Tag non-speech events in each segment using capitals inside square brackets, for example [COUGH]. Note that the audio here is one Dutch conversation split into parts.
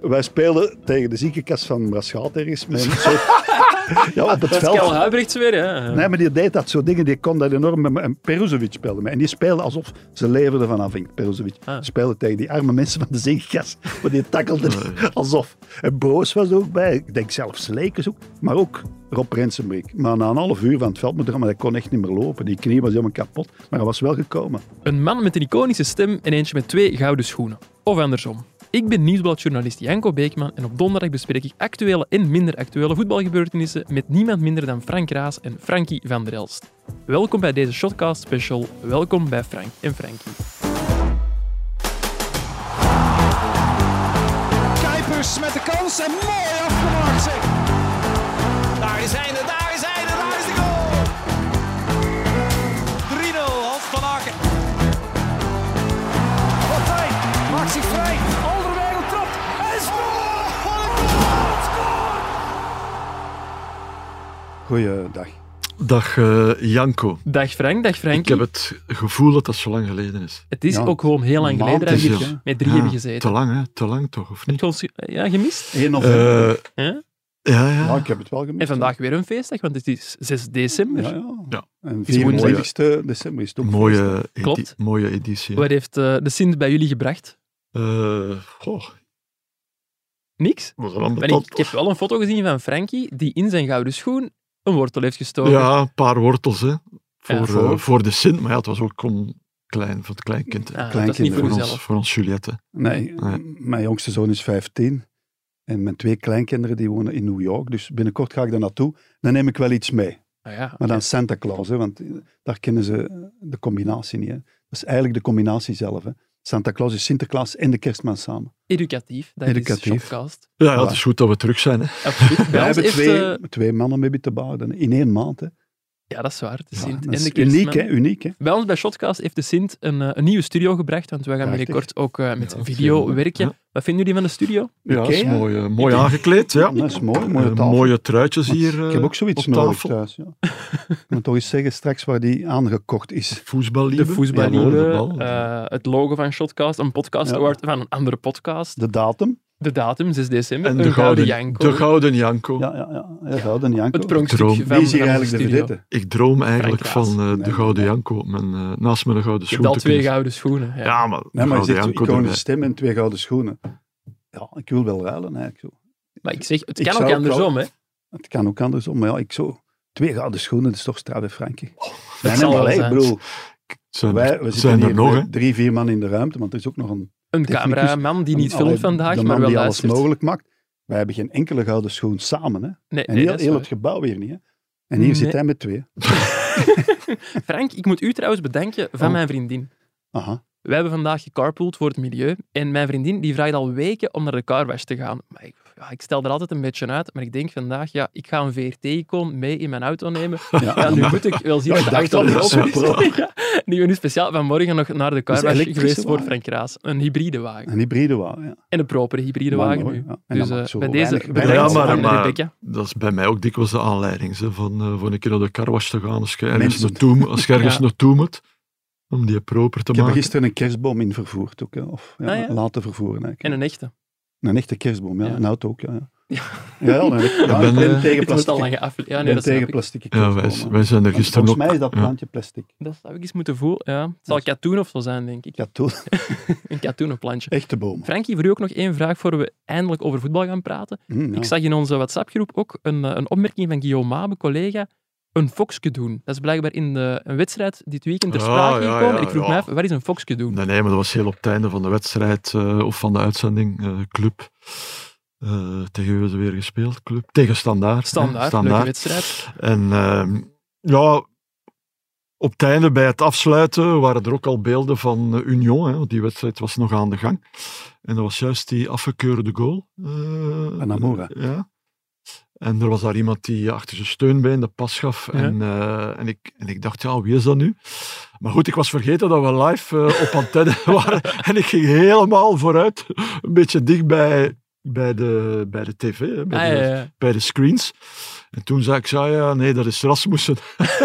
Wij speelden tegen de ziekenkast van Braschaat [LAUGHS] ergens. Met een soort... ja, op het Dat is Kel veld. Huibrechts weer, hè? Nee, maar die deed dat soort dingen, die kon dat enorm. met- En Peruzovic speelde mee. En die speelde alsof ze leverden van afhing. Peruzovic Ah. speelde tegen die arme mensen van de zinkgas. Maar die takkelde Oh, alsof. En Broos was er ook bij. Ik denk zelfs Lekers ook. Maar ook Rob Rensenbrink. Maar na een half uur van het veld moet er maar hij kon echt niet meer lopen. Die knie was helemaal kapot. Maar hij was wel gekomen. Een man met een iconische stem en eentje met twee gouden schoenen. Of andersom. Ik ben nieuwsbladjournalist Janko Beekman en op donderdag bespreek ik actuele en minder actuele voetbalgebeurtenissen met niemand minder dan Frank Raas en Frankie van der Elst. Welkom bij deze Shotcast special. Welkom bij Frank en Frankie. Kuipers met de kans en mooi afgemaakt zeg. Daar is hij, daar is hij, daar is de goal. 3-0, Hans van Aken. Wat fijn, maakt zich vrij. Alderweireld trapt en scoort. Wat een goal, scoort. Goeiedag. Dag eh, Janko. Dag Frank, dag Frankie. Ik heb het gevoel dat dat zo lang geleden is. Het is Ja. ook gewoon heel lang Een geleden dat maand we is hier het, hè? met drie Ja, hebben Te gezeten. lang, hè? Te lang toch, of Heb niet? je ons ge- ja, gemist? 1 november. Eh, Hè? ja, ja. ja, ik heb het wel gemist. En vandaag weer een feestdag, want het is 6 december. Ja, ja. Ja. En Is woensdag. 24 december is het ook feest, hè. Mooie, edi- Klopt. mooie editie. Wat heeft eh, de Sint bij jullie gebracht? Eh, goh, Niks? wat een Maar dat- ik, ik heb wel een foto gezien van Frankie die in zijn gouden schoen een wortel heeft gestoken. Ah, Ja, een paar wortels, hè. Voor, eh, voor- voor de Sint, maar ja, het was ook om klein, voor het kleinkind. hè. Ah, dat is niet voor Kleinkinderen. voor, ons, uzelf. voor ons Juliette. Nee, Nee. m- mijn jongste zoon is 15. En mijn twee kleinkinderen die wonen in New York. Dus binnenkort ga ik daar naartoe. Dan neem ik wel iets mee. Ah, ja. Maar dan Santa Claus, hè, want eh, daar kennen ze eh, de combinatie niet. Hè. Dat is eigenlijk de combinatie zelf. Hè. Santa Claus is Sinterklaas en de kerstman samen. Educatief, dat Educatief. is shopcast. Ja, ja, Voilà. het is goed dat we terug zijn, hè. [LAUGHS] Absoluut. We Bij ons hebben heeft, twee, eh, twee mannen mee te bouwen in één maand. Hè. ja, dat is waar. De Ja, Sint dat en is de kerstman. uniek, hè, uniek. Hè. Bij ons bij Shotcast heeft de Sint een, eh, een nieuwe studio gebracht, want wij gaan Prachtig. binnenkort ook eh, met Ja, video zeker. werken. Ja. Wat vinden jullie van de studio? Ja, Oké, het is hè. mooi, eh, mooi aangekleed, ja. Dat is mooi, Eh, mooie tafel. mooie truitjes hier ik heb eh, ook zoiets op nodig tafel. thuis. Ja. ik moet toch eens zeggen straks waar die aangekocht is. Voetballiefde. De voetballiefde, Ja, de bal. eh, het logo van Shotcast, een podcast Ja. award van een andere podcast, De datum. de datum 6 december, en een de gouden Janko. De gouden Janko. Ja, ja, ja. ja, gouden Janko. het pronkstuk Droom. van, Wie is van hier de eigenlijk de studio. vedette? Ik droom eigenlijk Frank Raas. van eh, de Nee, Gouden nee. Janko op mijn, eh, naast mijn Gouden Je Schoen. hebt al te twee kunnen gouden schoenen. staan. Ja. Ja, maar, Nee, maar je Gouden zegt Janko erbij. iconische stem en twee gouden schoenen. Ja, ik wil wel ruilen eigenlijk. Zo. Maar ik zeg, het Ik kan zou ook ook andersom, hè. Het kan ook andersom, maar ja, ik zo... Twee gouden schoenen, dat is toch straf, hè, Frankie? nee, Oh, zal nee, maar wel hey, zijn. bedoel, Zijn, wij, er- we zitten zijn hier er nog, hè? met drie, vier man in de ruimte, want er is ook nog een... Een Technicus. cameraman die een- niet filmt allee, de vandaag, man maar wel die luistert. alles mogelijk maakt. Wij hebben geen enkele gouden schoen samen, hè. Nee, En nee, heel, dat is heel waar. het gebouw weer niet, hè. En hier Nee. zit hij met twee. [LAUGHS] Frank, ik moet u trouwens bedanken van Oh. mijn vriendin. Aha. We hebben vandaag gecarpooled voor het milieu. En mijn vriendin die vraagt al weken om naar de carwash te gaan. Maar ik, ja, ik stel er altijd een beetje uit. Maar ik denk vandaag, ja, ik ga een VRT-icoon mee in mijn auto nemen. Ja, Ja, nu moet ik wel zien Ja, wat ik de dacht al, achtergrond dat is is. een pro. [LAUGHS] Ja, Die we nu speciaal vanmorgen nog naar de carwash elektrische geweest voor wagen. Frank Raas. Een hybride wagen. Een hybride wagen, ja. En een propere hybride Maar wagen mooi, nu. ja. En Dus dan eh, zo bij deze weinig- bedankt weinig- Ja, maar- aan maar- Rebecca. Dat is bij mij ook dikwijls de aanleiding, hè, van, eh, voor een keer naar de carwash te gaan. Als je ergens, Mensen. naartoe, moet- als je ergens Ja. naartoe moet, om die proper te Ik heb er maken. gisteren een kerstboom in vervoerd ook, hè. Of ja, Ah, ja. laten vervoeren, eigenlijk. En een echte. Een echte kerstboom, ja. Ja. Een auto ook, ja. Ja, Ja. ja, ja, nee, ja, ben, ik ben eh, tegen Dit wordt al plastic. lang geaffle- Ik Ja, nee, ben dat snap tegen ik. plastic Ja, kerstbomen. wij, wij zijn er Want gisteren Volgens ook... mij is dat ja. plantje plastic. Dat zou ik eens moeten voelen. Ja. Het zal Dat katoen of zo zijn, denk ik. Ja, toen. Een katoenenplantje. Echte bomen. Frankie, voor u ook nog één vraag voor we eindelijk over voetbal gaan praten. Hm, ja. Ik zag in onze WhatsApp-groep ook een, eh, een opmerking van Guillaume Mabe, collega, een foxje doen. Dat is blijkbaar in de, een wedstrijd dit weekend ter Ja, sprake ja, gekomen. ja, ik vroeg ja. me af, wat is een foxje doen? Nee, nee, maar dat was heel op het einde van de wedstrijd eh, of van de uitzending. eh, club. Eh, tegen wie hebben ze weer gespeeld? Club. Tegen Standaard. hè, Standaard, leuke Standaard. wedstrijd. En ehm, ja, op het einde bij het afsluiten waren er ook al beelden van eh, Union, hè, want die wedstrijd was nog aan de gang. En dat was juist die afgekeurde goal. eh, Van Amora. Ja. En er was daar iemand die achter zijn steunbeen de pas gaf. En, eh, en, ik, en ik dacht, ja, wie is dat nu? Maar goed, ik was vergeten dat we live eh, op antenne [LAUGHS] waren. En ik ging helemaal vooruit, een beetje dicht bij, bij, de, bij de tv, hè, bij Ah, de- ja, ja. bij de screens. En toen zei ik, zei, ja, nee, dat is Rasmussen.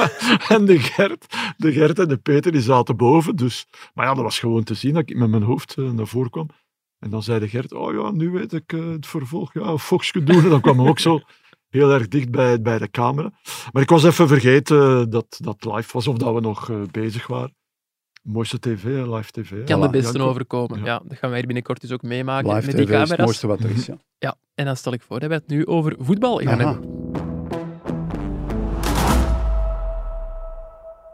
[LAUGHS] en de Gert, de Gert en de Peter, die zaten boven. Dus. Maar ja, dat was gewoon te zien dat ik met mijn hoofd eh, naar voren kwam. En dan zei de Gert, oh ja, nu weet ik eh, het vervolg. Ja, een foxje doen. En dan kwam hij ook zo [LAUGHS] heel erg dicht bij, bij de camera. Maar ik was even vergeten eh, dat dat live was of dat we nog eh, bezig waren. Mooiste tv, hè, live tv. hè. Kan de beste Janko. overkomen. Ja. Ja, dat gaan wij hier binnenkort dus ook meemaken Live met TV die is het camera's. mooiste wat er is. Ja. Ja, en dan stel ik voor dat we het nu over voetbal gaan Aha. hebben.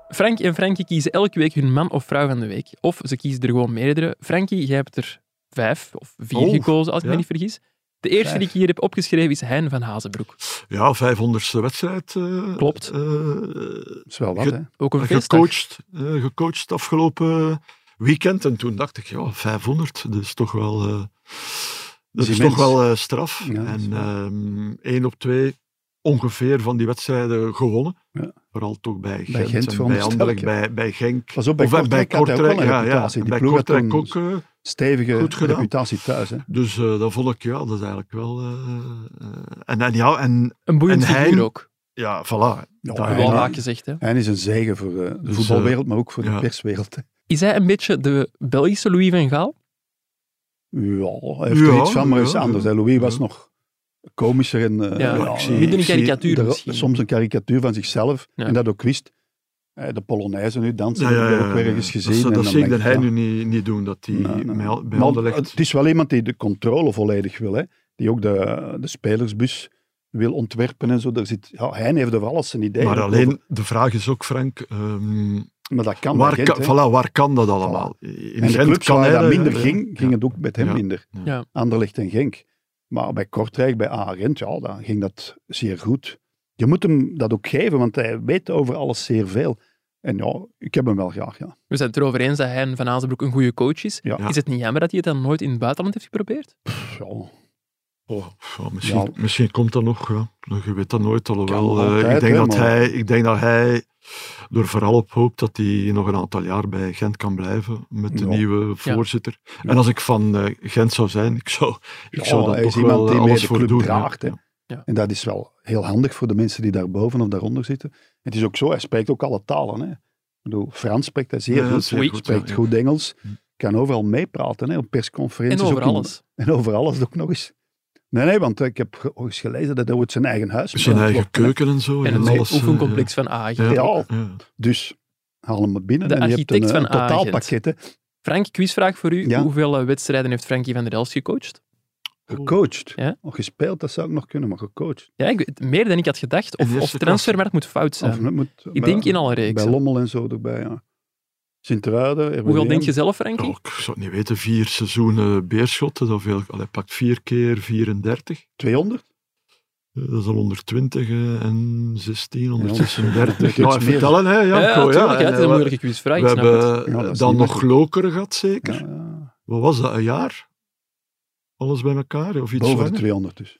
Frank en Frankie kiezen elke week hun man of vrouw van de week. Of ze kiezen er gewoon meerdere. Frankie, jij hebt er vijf of vier Oh, gekozen, als ik me ja. niet vergis. De eerste Vijf. die ik hier heb opgeschreven is Hein van Hazenbroek. Ja, 500ste wedstrijd. eh, Klopt. eh, Dat is wel wat, Ge- hè? Ook een feestdag. gecoacht, eh, gecoacht afgelopen weekend. En toen dacht ik, ja, 500, dat is toch wel, eh, dat Dat is is toch immens. wel eh, straf. Ja, dat is en waar. ehm, één op twee ongeveer van die wedstrijden gewonnen. Ja. Vooral toch bij Gent, Gent, en bij veronderstel ik, Anderlecht, ja. bij, bij Genk. Pas op, bij of eh, bij- Kortrijk, bij had hij ook wel Kortrijk, een ja, ja. reputatie. En Die bij ploeg had Kortrijk toen- ook. eh, Stevige Goed gedaan. reputatie thuis, hè? dus eh, dat vond ik, ja, dat is eigenlijk wel... eh, eh, en, en ja, en Een boeiend En Hein- Ah, figuur ook. ja, voilà. Ja, Daar- Wel Hein- vaak gezegd, hè. Hij is een zegen voor eh, de Dus, voetbalwereld, maar ook voor de ja. perswereld. hè. Is hij een beetje de Belgische Louis van Gaal? Ja, hij heeft er Ja, iets van, maar ja, is anders. hè. Louis was ja. nog komischer en... eh, Ja, ik zie- Midden een ik zie- karikatuur er- misschien. soms een karikatuur van zichzelf, Ja. en dat ook wist. Eh, De Polonaise nu dansen, Ja, ja, heb ik ja, ook weer ja. ergens Dat- gezien. Dat, en dan zie ik denk dat hij ja. nu niet, niet doen, dat hij Nee, nee. bij- bij Maar Anderlecht... Het is wel iemand die de controle volledig wil. Hè? Die ook de, de spelersbus wil ontwerpen en zo. Daar zit, ja, hij heeft er alles zijn idee. Maar alleen, de vraag is ook, Frank, ehm, maar dat kan waar, bij kan, Gent, hè. voilà, waar kan dat allemaal? In en de Gent clubs kan waar hij dat minder ja, ging, ging ja. het ook met hem Ja. minder. Ja. Anderlecht en Genk. Maar bij Kortrijk, bij Arend, ja, dan ging dat zeer goed. Je moet hem dat ook geven, want hij weet over alles zeer veel. En ja, ik heb hem wel graag, ja. We zijn het erover eens dat Hein van Hazenbroek een goede coach is. Ja. Is het niet jammer dat hij het dan nooit in het buitenland heeft geprobeerd? Pff, ja. Oh, ja, misschien, Ja. misschien komt dat nog, ja. Nou, je weet dat nooit. Alhoewel, Kan eh, altijd, ik, denk hè, dat maar- hij, ik denk dat hij er vooral op hoopt dat hij nog een aantal jaar bij Gent kan blijven met Ja. de nieuwe Ja. voorzitter. En als ik van eh, Gent zou zijn, ik zou, ik Ja, zou dat hij toch is iemand wel die alles mee de voor club doen. ja. draagt. Hè. Ja. Ja. En dat is wel heel handig voor de mensen die daarboven of daaronder zitten. Het is ook zo, hij spreekt ook alle talen. Hè. Ik bedoel, Frans spreekt hij zeer Ja, goed, zeer goed, spreekt ja, ja. goed Engels, Hm. kan overal meepraten, hè, op persconferenties. En over ook in- alles. en over alles ook nog eens. Nee, nee, want eh, ik heb ge- ooit gelezen dat hij ooit zijn eigen huis Zijn heeft eigen ontworpen, keuken en zo. En het nee, alles, eh, oefencomplex van Agen. ja. Ja, ja. dus haal hem maar binnen De en je hebt een, architect een van Agent. totaalpakket hè, Frank, quizvraag voor u. Ja. Hoeveel eh, wedstrijden heeft Frankie van der Elst gecoacht? gecoacht. Ja. Of gespeeld, dat zou ik nog kunnen, maar gecoacht. Ja, ik weet- meer dan ik had gedacht. In Of, de of eerste transfer, klasse. maar het moet fout zijn. Of het moet, ik denk in alle reeks. Bij Lommel en zo erbij, ja. Sint-Truiden. RWDM. Hoeveel denk je zelf, Ja, Frankie? ik zou het niet weten, vier seizoenen beerschotten, dat veel, allee, pakt vier keer 34. 200? Eh, Dat is al 120 eh, en 16, Ja, 136. iets meer. Ja, vertellen, hè, Janko. Ja, tuurlijk, ja, En, het is eh, een moeilijke quizvraag. ik We snap het. hebben Ja, dat is dan niet nog makkelijk. Lokeren gehad, zeker. Ja, ja. Wat was dat, een jaar? Alles bij elkaar, of iets Boven de langer? 200 dus.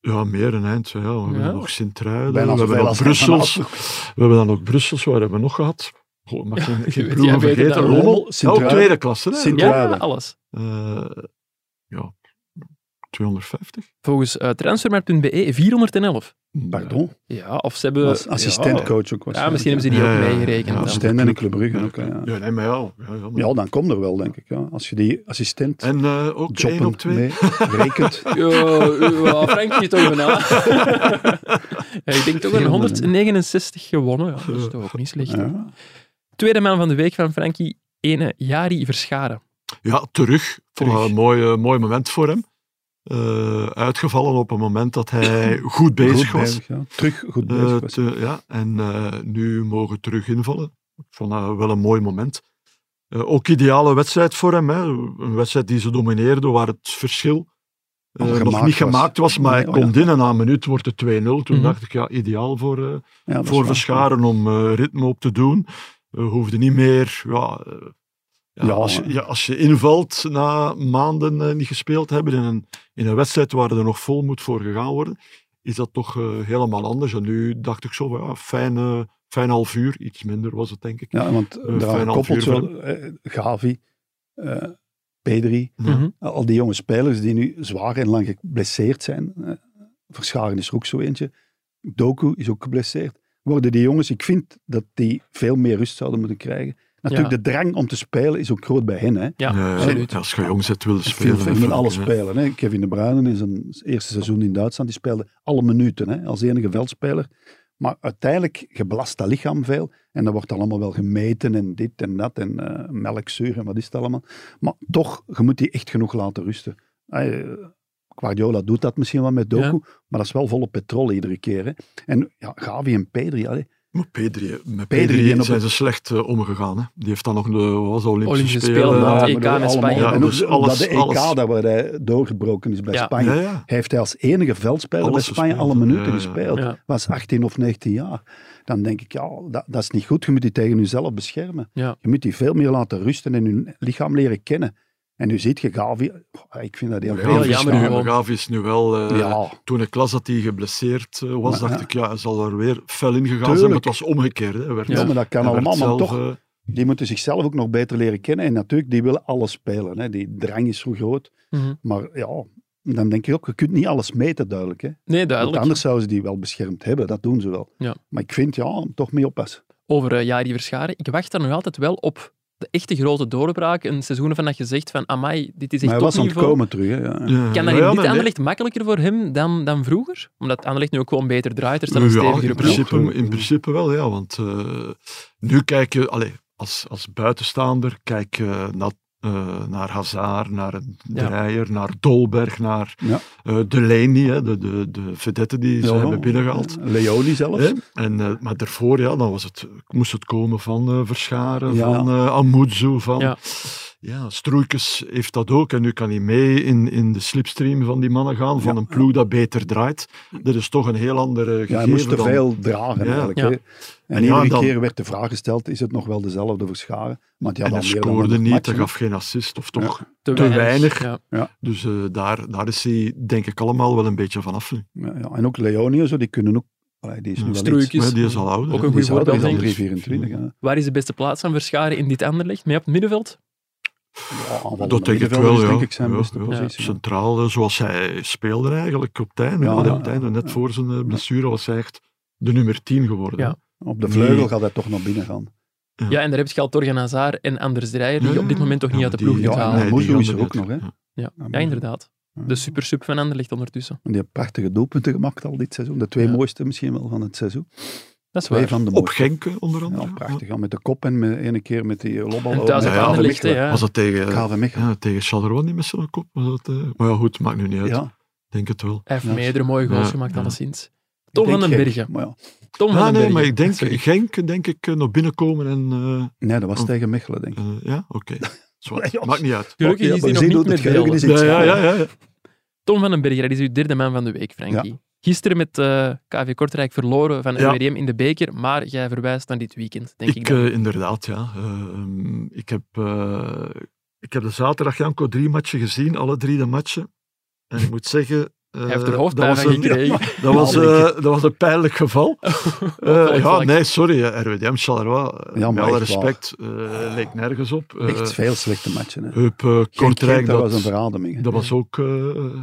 Ja, meer een eind. Ja. We hebben Ja. nog Sint-Truiden, we Bijna hebben zoveel nog als hij van Brussels. Assen. We hebben dan ook Brussels, waar hebben we nog gehad? Goh, mag [LAUGHS] geen, geen weet, jij ploegen weet vergeten. dat. Lommel, Lommel, ja, ook Sint-Truiden. tweede klasse. Hè? Sint- Ja, Draden. alles. Eh, ja, 250. Volgens eh, transfermarkt.be 411. Pardon, Ja, of ze hebben... als assistentcoach ook was. Ja, misschien hebben ze die Ja, ook ja, ja. meegerekend. Ja, dan. Assistent en in Club Brugge ook, ja. Ja, nee, maar ja. ja, ja, maar- Ja, dan komt er wel, denk ik. Ja. Als je die assistent En eh, ook één joppen op twee. mee [LAUGHS] rekent. [LAUGHS] Ja, ah, ja, Frankie toch wel. [LAUGHS] Ja, ik denk toch een 169 gewonnen. Ja, dat is toch ook niet slecht. hè? Ja. Tweede man van de week van Frankie, ene Jari Verscharen. Ja, terug. Vond ik Terug. een mooi, eh, mooi moment voor hem. Eh, uitgevallen op een moment dat [COUGHS] hij goed bezig Goed was. bezig, ja. Terug goed Eh, bezig was. te- ja, en eh, nu mogen terug invallen. Ik vond dat wel een mooi moment. Eh, ook ideale wedstrijd voor hem. Hè. Een wedstrijd die ze domineerde, waar het verschil eh, Al nog gemaakt niet was. gemaakt was. Maar Nee, hij oh ja. komt in en na een minuut wordt het 2-0. Toen Mhm. dacht ik, ja, ideaal voor, eh, Ja, dat is voor waar. Verscharen om eh, ritme op te doen. Eh, hoefde niet meer. Ja, eh, ja, Ja, als, je, maar- ja, als je invalt na maanden eh, niet gespeeld hebben in een, in een wedstrijd waar er nog vol moet voor gegaan worden, is dat toch eh, helemaal anders. En nu dacht ik zo, van, ja, fijn, eh, fijn half uur, iets minder was het denk ik. Ja, want Eh, daar fijn half koppelt uur zo eh, Gavi, eh, Pedri, Ja. Mhm. al die jonge spelers die nu zwaar en lang geblesseerd zijn. eh, Verscharen is er ook zo eentje. Doku is ook geblesseerd. Worden die jongens, ik vind dat die veel meer rust zouden moeten krijgen. Natuurlijk, Ja. de drang om te spelen is ook groot bij hen. Hè. Ja, Eh, absoluut. als je jong zit, wil je Veel spelen. fans met natuurlijk, alles hè. spelen. Hè. Kevin De Bruyne in zijn eerste seizoen in Duitsland, die speelde alle minuten hè, als enige veldspeler. Maar uiteindelijk geblast dat lichaam veel. En dat wordt allemaal wel gemeten en dit en dat en eh, melkzuur en wat is het allemaal. Maar toch, je moet die echt genoeg laten rusten. Hij, eh, Guardiola doet dat misschien wel met Doku, Ja. maar dat is wel volle petrol iedere keer. Hè. En ja, Gavi en Pedri, allee, Maar Pedri, eh, met Pedri, Pedri, die op zijn het- ze slecht eh, omgegaan. Hè. Die heeft dan nog de wat was, de Olympische, Olympische Spelen, Spelen. ja. eh, EK maar dat met allemaal- Spanje. Ja, En ook dus omdat alles- de EK alles. dat waar hij doorgebroken is bij Ja. Spanje. Ja, ja. Hij heeft hij als enige veldspeler Alles bij Spanje gespeeld, alle minuten ja, ja. gespeeld. Ja. Was 18 of 19 jaar. Dan denk ik, ja, dat, dat is niet goed. Je moet die tegen jezelf beschermen. Ja. Je moet die veel meer laten rusten en hun lichaam leren kennen. En nu ziet je Gavi, oh, ik vind dat heel Gavi heel is jammer nu- gewoon. Gavi is nu wel... eh, Ja, Toen ik las dat hij geblesseerd eh, was, Maar, dacht ja. ik, ja, hij zal er weer fel in gegaan zijn. Maar Tuurlijk. het was omgekeerd. Hè. Hij Werd, Ja, ja, maar dat kan hij werd allemaal. Maar zelf, toch, eh, die moeten zichzelf ook nog beter leren kennen. En natuurlijk, die willen alles spelen. Hè. Die drang is zo groot. Mhm. Maar ja, dan denk ik ook, je kunt niet alles meten duidelijk. Hè. Nee, Want duidelijk. anders zouden ze die wel beschermd hebben. Dat doen ze wel. Ja. Maar ik vind, ja, toch mee oppassen. Over eh, Jari Verscharen. Ik wacht daar nog altijd wel op de echte grote doorbraak. Een seizoen waarvan dat je zegt van, amai, dit is Maar echt hij was topniveau. ontkomen terug. Hè. Ja. ja. Kan dat Ja, in maar dit nee. Anderlecht makkelijker voor hem dan, dan vroeger? Omdat Anderlecht nu ook gewoon beter draait. Er staat een Ja, stevigere in ploeg. principe, in principe wel, ja. Want eh, nu kijk je, allee, als, als buitenstaander, kijk je naar, eh, naar Hazard, naar Ja. Dreyer, naar Dolberg, naar Ja. eh, Delaney, hè, de, de, de vedette die ze hebben binnengehaald. Leoni zelfs. Hè? En, eh, maar daarvoor ja, dan was het, moest het komen van eh, Verscharen, Ja. van eh Amuzu, van... Ja. Ja. Stroeikens heeft dat ook en nu kan hij mee in, in de slipstream van die mannen gaan, van Ja. een ploeg dat beter draait. Dat is toch een heel ander eh, gegeven Ja, hij moest te dan- veel dragen Ja. eigenlijk. Ja. hè. En, En ja, iedere dan- keer werd de vraag gesteld, is het nog wel dezelfde verscharen? Want ja, en dan hij meer dan scoorde 100 niet, matchen, hij gaf geen assist of toch. te te weinig. Ja. Dus eh, daar, daar is hij denk ik allemaal wel een beetje vanaf nu. hè. Ja, ja. En ook Leoni en zo, die kunnen ook... Allee, die is nu Ja, wel Mm. Struik iets. is- Maar die is al oud. Ook hè. een Die goed is ouder, voorbeeld, die is al denk ik. 324. hè. Waar is de beste plaats van Verscharen in dit Anderlecht? Mee op het middenveld? Ja, aanvallende Dat denk ik middenvelder wel, is ja. denk ik zijn Ja, beste ja. positie. hè. Centraal, eh, zoals hij speelde eigenlijk op het einde. Ja, Allee, ja, op het einde, net ja. voor zijn eh, blessure, was hij echt de nummer 10 geworden. Ja. Op de Nee. vleugel gaat hij toch naar binnen gaan. Ja. en daar heb je al Torgen Hazard en Anders Dreyer, die je op dit moment toch Ja, niet uit de maar ploeg die- kunt ja, halen. nee. Amuzu die is gaan er ook eruit. nog, hè. Ja. Ja, Ja, ja, inderdaad. Ja. De supersub van Anderlecht ondertussen. En die heeft prachtige doelpunten gemaakt al dit seizoen. De twee Ja. mooiste misschien wel van het seizoen. Dat is Twee waar. van de Op mooiste. Genk eh, onder andere. Ja, prachtig. Ja, met de kop en met, ene keer met die lobbal. En thuis over op ja, KV Anderlecht, hè, Mechelen. ja. Was dat tegen, KV Mechelen. ja, tegen Charleroi niet met zijn kop? Was dat, eh, Maar ja, goed, maakt nu niet uit. Ja. Denk het wel. Hij heeft Ja. meerdere mooie goals Ja, gemaakt, ja. alleszins. Tom Ik van denk den gek, Bergen. Maar ja. Tom van Ja, den Ah, nee, Bergen. maar ik denk, Sorry. Genk denk ik eh, naar binnen komen en... eh, Nee, dat was Oh. tegen Mechelen, denk ik. Eh, ja, [LAUGHS] oké. Zwart. Nee, jongens. Maakt niet uit. Gelukkig Oké, is maar hij nog zie niet dat met het geheugen beelden. is iets Ja, ja, ouder. ja, ja. Tom van den Berger, dat is uw derde man van de week, Frankie. Gisteren met eh, KV Kortrijk verloren van Ja. RWDM in de beker, maar jij verwijst naar dit weekend, denk ik. Ik, dan. eh, inderdaad, ja. Ehm, ik, heb, eh, ik heb de zaterdag Janko drie matchen gezien, alle drie de matchen. En ik moet zeggen... eh, Hij heeft er hoofdpijn dat van was een- gekregen. Dat was, Manneke. eh, dat was een pijnlijk geval. Eh, ja, vlak. nee, sorry, eh, RWDM, Charleroi. eh, Ja, maar met alle echt waar. respect, eh, leek nergens op. Eh, Echt veel slechte matchen. Hè. Hup, eh, Genk, Kortrijk, Genk, dat dat, was een verademing. hè. Dat was ook. eh,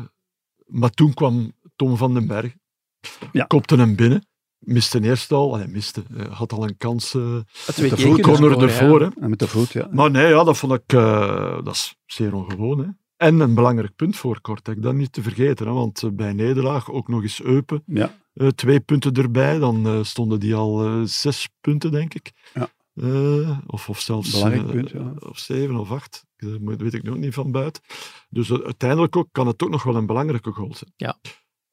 maar toen kwam Tom van den Berg. Ja. Kopte hem binnen. Miste eerst al. Hij miste. eh, had al een kans. eh twee de keer voet kunnen kon scoren, er ja. ervoor. hè. En met de voet, ja. Maar nee, ja, dat vond ik. eh, dat is zeer ongewoon. Hè. En een belangrijk punt voor Kortrijk. Dat niet te vergeten. Hè, want eh, bij nederlaag ook nog eens Eupen. Ja. eh, twee punten erbij. Dan eh, stonden die al eh, zes punten, denk ik. Ja. Eh, of, of zelfs. Belangrijk eh, punt, ja. of zeven of acht. Dat moet- weet ik nog niet van buiten. Dus u- uiteindelijk ook, kan het ook nog wel een belangrijke goal zijn. Ja.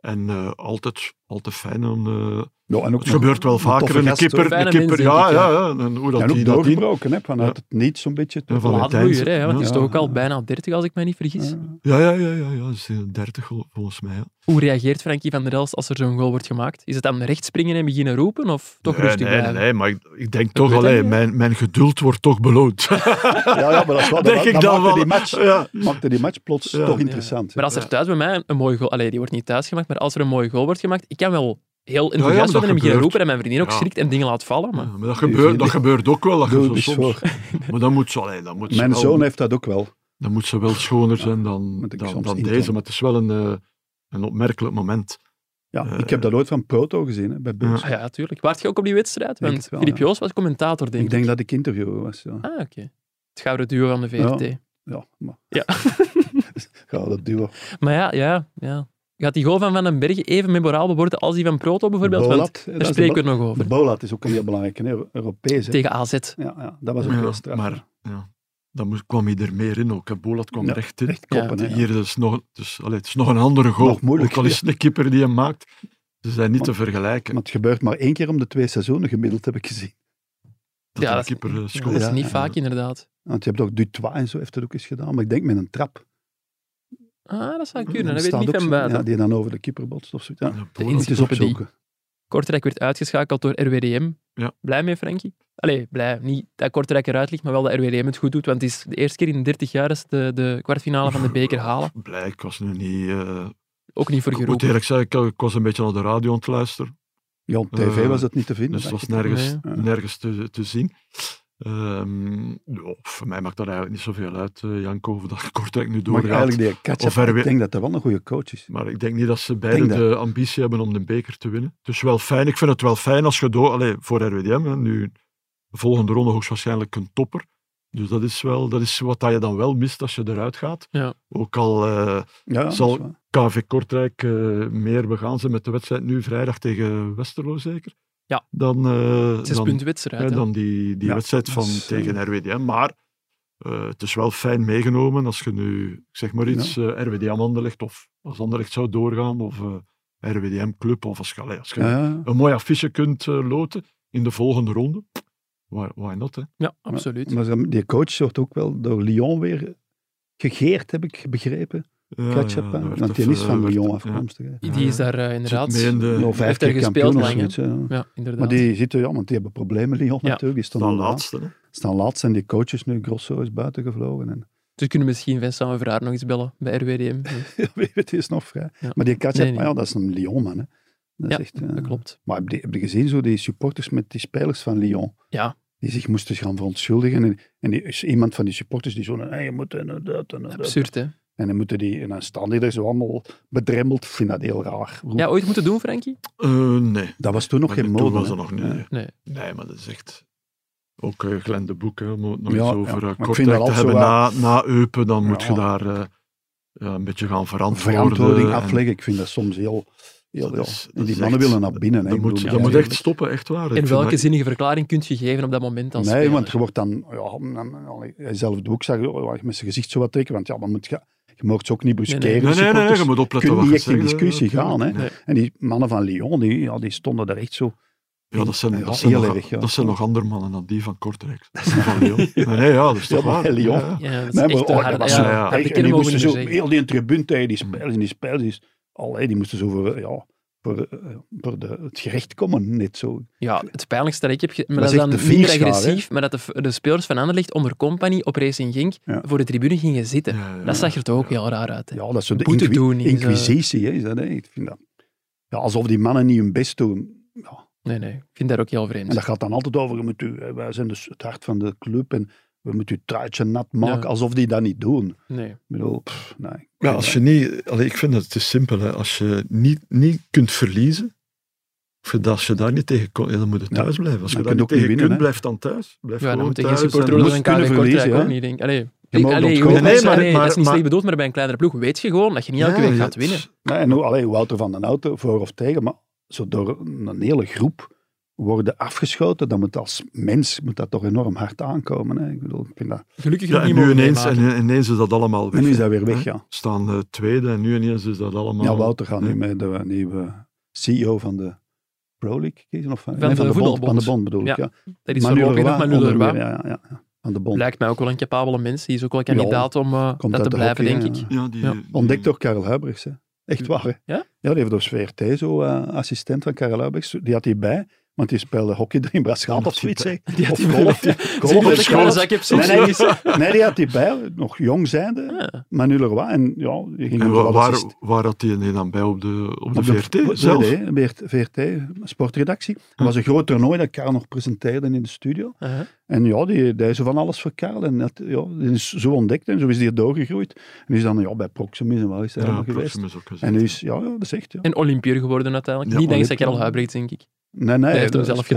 En eh, altijd, altijd fijn. Om, eh, Ja, en ook het gebeurt wel vaker. Een kipper, Fijne een kipper mens, denk ja, ik, ja, ja. En hoe dat En ook die dat dient. doorgebroken, hè, vanuit Ja. het niets zo'n beetje. Ja, van Laat het eind. bloeier, hè, want het is Ja. toch ook al bijna 30, als ik mij niet vergis. Ja. Ja, ja, ja, ja, ja. Is, eh, 30 gol- volgens mij. Ja. Hoe reageert Frankie van der Elst als er zo'n goal wordt gemaakt? Is het dan rechtspringen en beginnen roepen, of toch nee, rustig nee, blijven? nee, maar ik, ik denk toch, weet hij alleen, niet. mijn, mijn geduld wordt toch beloond. [LAUGHS] Ja, ja, maar dat is wel, dat, Denk ik dat dan maakte, wel. die match, Ja. maakte die match plots Ja. toch Ja. interessant. hè. Maar als er thuis bij mij een, een mooie goal... Allee, die wordt niet thuis gemaakt, maar als er een mooie goal wordt gemaakt, ik kan wel heel enthousiast maar dat worden en beginnen gebeurt. roepen en mijn vriendin ook Ja. schrikt en dingen laat vallen. Maar... Ja, maar dat, Die- die- gebeurt, dat gebeurt ook wel. Dat je Doe zo het eens soms, voor. maar dat moet, zo, allee, dat moet ze Mijn wel- zoon heeft dat ook wel. Dan moet ze wel schoner zijn dan, moet ik dan, soms dan inkomen. deze. Maar het is wel een, eh, een opmerkelijk moment. Ja, ik heb dat ooit van Proto gezien hè, bij Beus. Ah ja, tuurlijk. Waart je ook op die wedstrijd? Denk Want het wel, Filip ja. Joos was commentator, denk ik. Ik denk dat ik interviewer was. Ja, Ah, oké. Het gouden duo van de VRT. ja maar... [LAUGHS] Dus Ja. Ga dat duo. Maar ja, ja, ja. Gaat die goal van Van den Bergen even memoraal worden als die van Proto bijvoorbeeld? Want Bolat, eh, dat daar is de spreken we Bo- nog De over. Bolat is ook een heel belangrijke, hè, Europees. hè. Tegen AZ. Ja, ja, dat was ook Ja, heel straf. maar- Ja. Dan moest, kwam hij er meer in ook. hè. Bolat kwam Ja, er echt in. echt koppen, hè, ja. Hier is nog, dus, allee, het is nog een andere goal. Nog moeilijk, ook al is het een keeper die hem maakt. Ze zijn niet te vergelijken. Maar het gebeurt maar één keer om de twee seizoenen gemiddeld, heb ik gezien. dat Ja, een dat- keeper eh, Dat scoort. is Ja. niet vaak, inderdaad. Want je hebt ook Dutois en zo heeft dat ook eens gedaan, maar ik denk met een trap. Ah, dat Dan zou kunnen. Dat weet staat ik niet ook van zo- buiten. ja, die dan over de keeper botst of zo. Ja, Ja, De Bolat. moet je eens encyclopedie. opzoeken. Kortrijk werd uitgeschakeld door RWDM. Ja. Blij mee, Frankie? Allee, blij. Niet dat Kortrijk eruit ligt, maar wel dat RWDM het goed doet. Want het is de eerste keer in 30 jaar dat ze de, de kwartfinale van de beker halen. Blij, ik was nu niet... eh, Ook niet voor ik moet geroepen. eerlijk zeggen, ik, ik was een beetje naar de radio aan het luisteren. Ja, op tv Eh, was dat niet te vinden. Dus het denk ik. was nergens, Nee. Ja. nergens te, te zien. Ehm, ja, voor mij maakt dat eigenlijk niet zoveel uit, eh, Janko, of dat Kortrijk nu maar doorgaat. eigenlijk die Of Katja, ver ik weer- denk dat dat wel een goede coach is. Maar ik denk niet dat ze beide Denk dat. de ambitie hebben om de beker te winnen. Dus wel fijn. Ik vind het wel fijn als je door, allee, voor RWDM, hè, nu de volgende ronde hoogstwaarschijnlijk een topper. Dus dat is, wel, dat is wat dat je dan wel mist als je eruit gaat. Ja. Ook al eh, Ja, dat is Zal- waar. KV Kortrijk eh, meer begaan ze met de wedstrijd nu vrijdag tegen Westerlo zeker. Ja. Dan, eh, Zes dan, punten wedstrijd. hè, hè. dan die, die Ja, wedstrijd dat van is, eh, tegen RWDM. Maar eh, het is wel fijn meegenomen als je nu, ik zeg maar iets, eh, RWDM Anderlecht of als Anderlecht zou doorgaan of eh, RWDM Club of als, je- allee, als je Ja, ja. een mooi affiche kunt eh, loten in de volgende ronde. Why, why not, hè? Ja, absoluut. Maar ze- die coach wordt ook wel door Lyon weer gegeerd, heb ik begrepen. Ja, Ketchup, ja, hè. dat werd want die even- eh, is van werd- Lyon ja. afkomstig. hè. Die is daar eh, inderdaad... Zit mee in de- Nou, vijf heeft daar keer gespeeld kampioen of lang, hè. zoiets. hè. Ja, inderdaad. Maar die zitten, ja, want die hebben problemen, Lyon Ja. natuurlijk. Die staan, Dan onderaan. laatste, hè. staan laatst en die coaches nu, Grosso is buiten gevlogen. En, [LAUGHS] Dus kunnen we misschien Vincent en Verhaar nog eens bellen bij [LAUGHS] RWDM. wie weet, die is nog vrij. Ja. Maar die Katja, Nee, nee. ja, dat is een Lyon man. Hè. Dat is Ja, echt, eh, Dat klopt. Maar heb je, heb je gezien zo die supporters met die spelers van Lyon? Ja. Die zich moesten gaan verontschuldigen. En, en die, is iemand van die supporters die zo, hey, je moet en dat en dat. en dat." Absurd, hè? En dan, moeten die, en dan staan die er zo allemaal bedremmeld. Ik vind dat heel raar. Ja, ooit moeten doen, Frankie? Eh, nee. dat was toen nog Maar geen toen mode. was hè. dat nog niet. Ja. nee. Nee. Nee, maar dat is echt... Ook eh Glenn de Boek, hè, om het nog Ja, eens ja. over Maar ik eh, vind Kortrijk dat te altijd hebben. zo Na, na Eupen, dan moet Ja. je daar eh, ja, een beetje gaan verantwoorden. Verantwoording en afleggen, ik vind dat soms heel... heel eh, Dat is- ja. dat die is mannen echt- willen naar binnen. hè. Dat Ik moet, bedoel, dat ja, moet ja. echt stoppen, echt waar. Ik En vind welke dat- zinnige verklaring kun je geven op dat moment als Nee, speler? want je wordt dan... Ja, dan- allee, hij zelf doet ook zeggen, oh, met zijn gezicht zo wat trekken, want ja, dan moet je... Je mag ze ook niet bruskeren. Nee, Nee, nee, nee, supporters. je moet opletten kun wat niet je echt in zegt, hè, discussie gaan, hè. natuurlijk. En die mannen van Lyon, die, ja, die stonden daar echt zo... Ja, dat zijn, Ja, dat zijn, heel nog, erg, ja. dat zijn nog andere mannen dan die van [LAUGHS] Kortrijk. Van Lyon. Nee, nee, ja, dat is toch Ja, maar waar. Lyon. Ja, ja. Ja, dat is Nee, echt maar, te oh, hard. dat was Ja, zo- ja. Echt, dat en bekennen die mogen we moesten niet zo meer zeggen. heel die tribune tegen die spelers en die spelers. Die, allee, die moesten zo voor, ja, voor, eh, voor de, het gerecht komen, net zo. Ja, het pijnlijkste dat ik heb... ge- Maar Dat dat, is is dan echt de minder vierschaar, agressief, maar dat de, de spelers van Anderlecht onder compagnie op Racing Genk Ja. voor de tribune gingen zitten. ja, ja. Dat zag er toch ook heel raar uit. hè. Ja, dat is zo de Boete inqui- doen is, eh, inquisitie, hè, is dat, hè. Ik vind dat. Ja, alsof die mannen niet hun best doen. Ja, Nee, nee. Ik vind dat ook heel en dat vreemd. gaat dan altijd over, je moet u, hè, wij zijn dus het hart van de club en we moeten uw truitje nat maken, Ja. alsof die dat niet doen. Ik Nee. bedoel, pff, nee. Ja, als je niet, allee, ik vind dat het is simpel. Hè. Als je niet, niet kunt verliezen, of je- als je daar niet tegen kon, ja, dan moet je Ja, thuis blijven. Als je dan daar kun je niet ook niet tegen winnen, hè. kunt, blijf dan thuis. Blijf Ja, dan gewoon moet tegen thuis. supporter en- moet van kunnen KV Kortrijk verliezen, ook hè. niet denken. Allee, Je mag allee, ontkomen. joh, Nee, maar- allee, dat is niet maar- slecht bedoeld, maar bij een kleinere ploeg weet je gewoon dat je niet elke Ja, week ja, gaat winnen. het- Nee, Nou, en hoe, allee, Wouter van den Auto voor of tegen, maar zo door een hele groep worden afgeschoten, dan moet als mens moet dat toch enorm hard aankomen. Hè? Ik bedoel, ik vind dat... Gelukkig Ja, nog en niet nu mogen ineens, meemaken. en, ineens is dat allemaal weg. En nu is hè. dat weer weg, Hè? ja. Staan eh, tweede en nu ineens is dat allemaal... Ja, Wouter gaat nu Ja. met de nieuwe CEO van de Pro League kiezen, of van, Van de van bond, voetbalbond. van de bond bedoel ik, Ja, ja. Dat is Manu voorlopig nog Leroy, maar nu onder Leroy. meer, ja, ja, ja, ja, van de bond. Lijkt mij ook wel een capabele mens. Die is ook wel kandidaat om eh, komt dat uit te de blijven, hockey, denk ik. ja. Ja, die, Ja. die- Ontdekt door Karel Huibrechts, hè. Echt waar, hè. Mm. die Ja? heeft door VRT zo eh, assistent van Karel Huibrechts, die had hij bij. Want die spelen hockey erin Braschaat of zoiets. hè. Die had Of die bij- golf. hè. Golf Zie je of dat ik wel een schaats. zak heb soms? Nee, nee, die- [LAUGHS] nee, die had die bij, nog jong zijnde, Manu Leroy. En ja, die ging En hem wa- wel waar, assist- waar had hij nee, dan bij op de, op de op de- VRT op de zelf? VRT, Beert- VRT, sportredactie. Dat was een groot toernooi dat Karel nog presenteerde in de studio. Uh-huh. En ja, die, die is van alles voor Karel. En dat, ja, die is zo ontdekt en zo is die doorgegroeid. En is dan ja, bij Proximus en waar is hij Ja, allemaal geweest. Proximus ook gezien. En nu is, ja, ja dat is echt, ja. En Olympier geworden uiteindelijk. Ja, Niet dankzij Olympier. Karel Huibrecht, denk ik. Nee, nee. Hij heeft hem dat zelf is-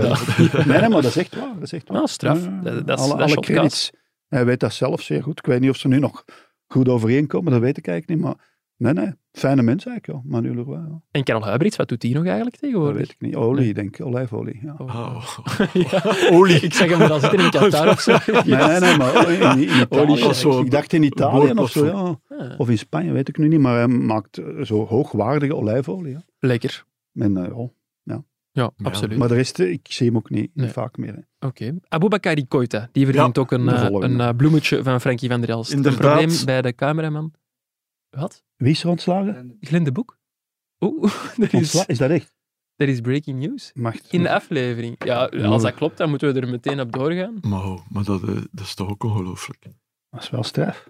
[LAUGHS] gedaan. Nee, nee, maar dat is echt waar. Dat is echt waar. Ah, straf. Ja, ja, ja. Dat- dat is- alle dat is alle shotcast. credits. Hij weet dat zelf zeer goed. Ik weet niet of ze nu nog goed overeenkomen, dat weet ik eigenlijk niet. Maar nee, nee. Fijne mens eigenlijk, ja. Manu Leroy, ja. En Karel Huibrecht, wat doet die nog eigenlijk Dat tegenwoordig? weet ik niet. Olie, denk ik. Olijfolie, ja. [LAUGHS] Oh, [LAUGHS] Olie. Ik zag hem wel zitten in Qatar of zo. Nee, nee, nee, maar [LAUGHS] in, in Italië. Olie, zo ik, ik dacht in Italië of zo, ja. Ah, Of in Spanje, weet ik nu niet. Maar hij maakt eh, zo hoogwaardige olijfolie, ja. Lekker. En, eh, ja. Ja, Ja. absoluut. Maar de rest, eh, ik zie hem ook niet, niet Nee. vaak meer. hè. Oké. Aboubakari Koita, die verdient ook een, de eh, volgende. een eh, bloemetje van Frankie van der Elst. Inderdaad. Een probleem bij de cameraman. Wat? Wie is er ontslagen? Glenn de Boek? Oeh, [LAUGHS] dat is, Ontsla- is dat echt? dat is breaking news. Macht. In de aflevering. Ja, als dat klopt, dan moeten we er meteen op doorgaan. maar, oh, maar dat, eh, dat is toch ook ongelooflijk. Dat is wel straf.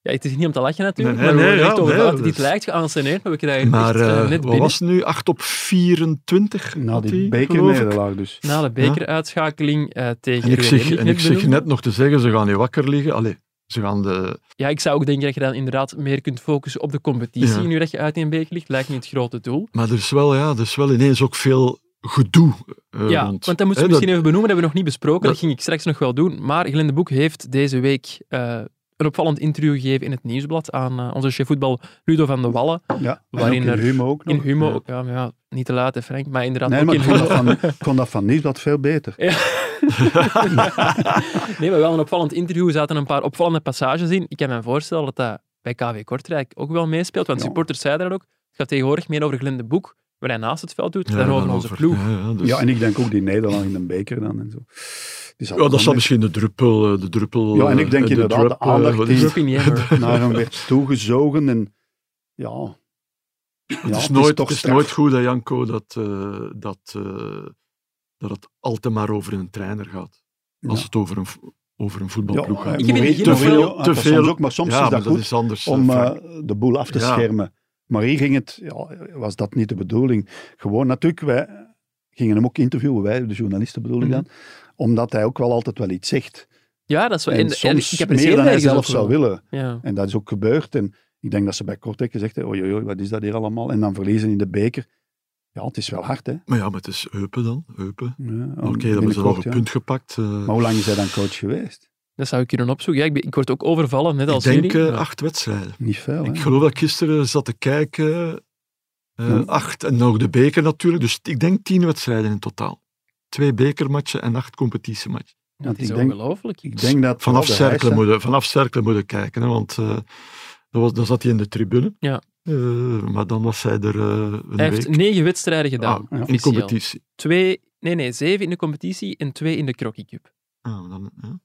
Ja, het is niet om te lachen natuurlijk, Nee, nee, maar we nee, worden ja, echt over nee, praten. dat Dit is- lijkt geanceneerd, maar we krijgen het Maar echt, eh, eh, net wat binnen. was het nu? 8 op 24? Na had die hij, geloof ik. bekernederlaag dus. Na de bekeruitschakeling eh, tegen En ik RWDM, zeg, die en net ik zeg benoemde. net nog te zeggen, ze gaan niet wakker liggen. Allee, ze gaan de... Ja, ik zou ook denken dat je dan inderdaad meer kunt focussen op de competitie. Ja. Nu dat je uit een beker ligt, lijkt niet het grote doel. Maar er is wel, ja, er is wel ineens ook veel gedoe eh, ja, rond. want dat moeten we Hè, misschien even benoemen, dat hebben we nog niet besproken. Dat, Dat- ging ik straks nog wel doen. Maar Glenn de Boek heeft deze week eh, een opvallend interview gegeven in het Nieuwsblad aan eh, onze chef voetbal Ludo van de Wallen. Ja, Waarin waarin ook in er- Humo ook nog. In Humo, ja. ook, ja, maar ja, niet te laat hè, Frank, maar inderdaad Oh, nee, maar ook in ik vond, Humo. dat van, ik vond dat van Nieuwsblad veel beter. [LAUGHS] Nee, maar wel een opvallend interview. Er zaten een paar opvallende passages in. Ik kan me voorstellen dat dat bij KV Kortrijk ook wel meespeelt. Want Ja. supporters zeiden dat ook. Het gaat tegenwoordig meer over Glenn de Boek, wat hij naast het veld doet, Ja, dan over dan onze over- ploeg. Ja, ja, [LAUGHS] dus- Ja, en ik denk ook die Nederland in een beker dan en zo. Die zal Ja, dat dan zal misschien de druppel... eh, De druppel Ja, en ik eh, denk de inderdaad, drup, de eh, aandacht wat die- is het? Drop in the hammer. [LAUGHS] naar hem werd toegezogen en ja... ja het is, nooit, toch het is straf. nooit goed, hè, Janko, dat, eh, dat, eh, dat het altijd maar over een trainer gaat. Als Ja. het over een, vo- over een voetbalploeg gaat. Ik heb in het begin te nog wel- veel, te veel. Ook, maar soms ja, is maar dat goed is anders. eh, om Frank. eh, de boel af te Ja. schermen. Maar hier ging het, ja, was dat niet de bedoeling. Gewoon natuurlijk, wij gingen hem ook interviewen, wij, de journalisten bedoel ik Mhm. dan, omdat hij ook wel altijd wel iets zegt. Ja, dat is wel... En, en- en soms ik heb er meer zeer dan hij ergens zelf over zou gehoord. willen. Ja. En dat is ook gebeurd. En ik denk dat ze bij Kortrijk gezegd hebben, oei, oei, oei, wat is dat hier allemaal? En dan verliezen in de beker. Ja, het is wel hard, hè. Ja, Maar ja, maar het is Eupen dan. Eupen. Oké, binnenkort, dan hebben ze nog een ja. punt gepakt. eh. Maar hoe lang is hij dan coach geweest? Dat zou ik kunnen opzoeken. Ja, ik, ben- ik word ook overvallen, net ik als denk jullie. eh, Ja. acht wedstrijden. Niet veel, hè. Ik geloof dat ik gisteren zat te kijken. eh, Ja. Acht en nog de beker natuurlijk. Dus ik denk tien wedstrijden in totaal. Twee bekermatchen en acht competitiematchen. Dat want is ik denk- ongelooflijk. Ik denk dat... Vanaf de cirkelen Heijsen- moeten, vanaf cirkelen moeten kijken, hè, want eh dan, was, dan zat hij in de tribune. Ja. Eh, maar dan was hij er eh, een Hij week heeft negen wedstrijden gedaan, Ah, in officieel. competitie. Twee... Nee, nee, zeven in de competitie en twee in de Crocky Cup. Ah, dan, ja.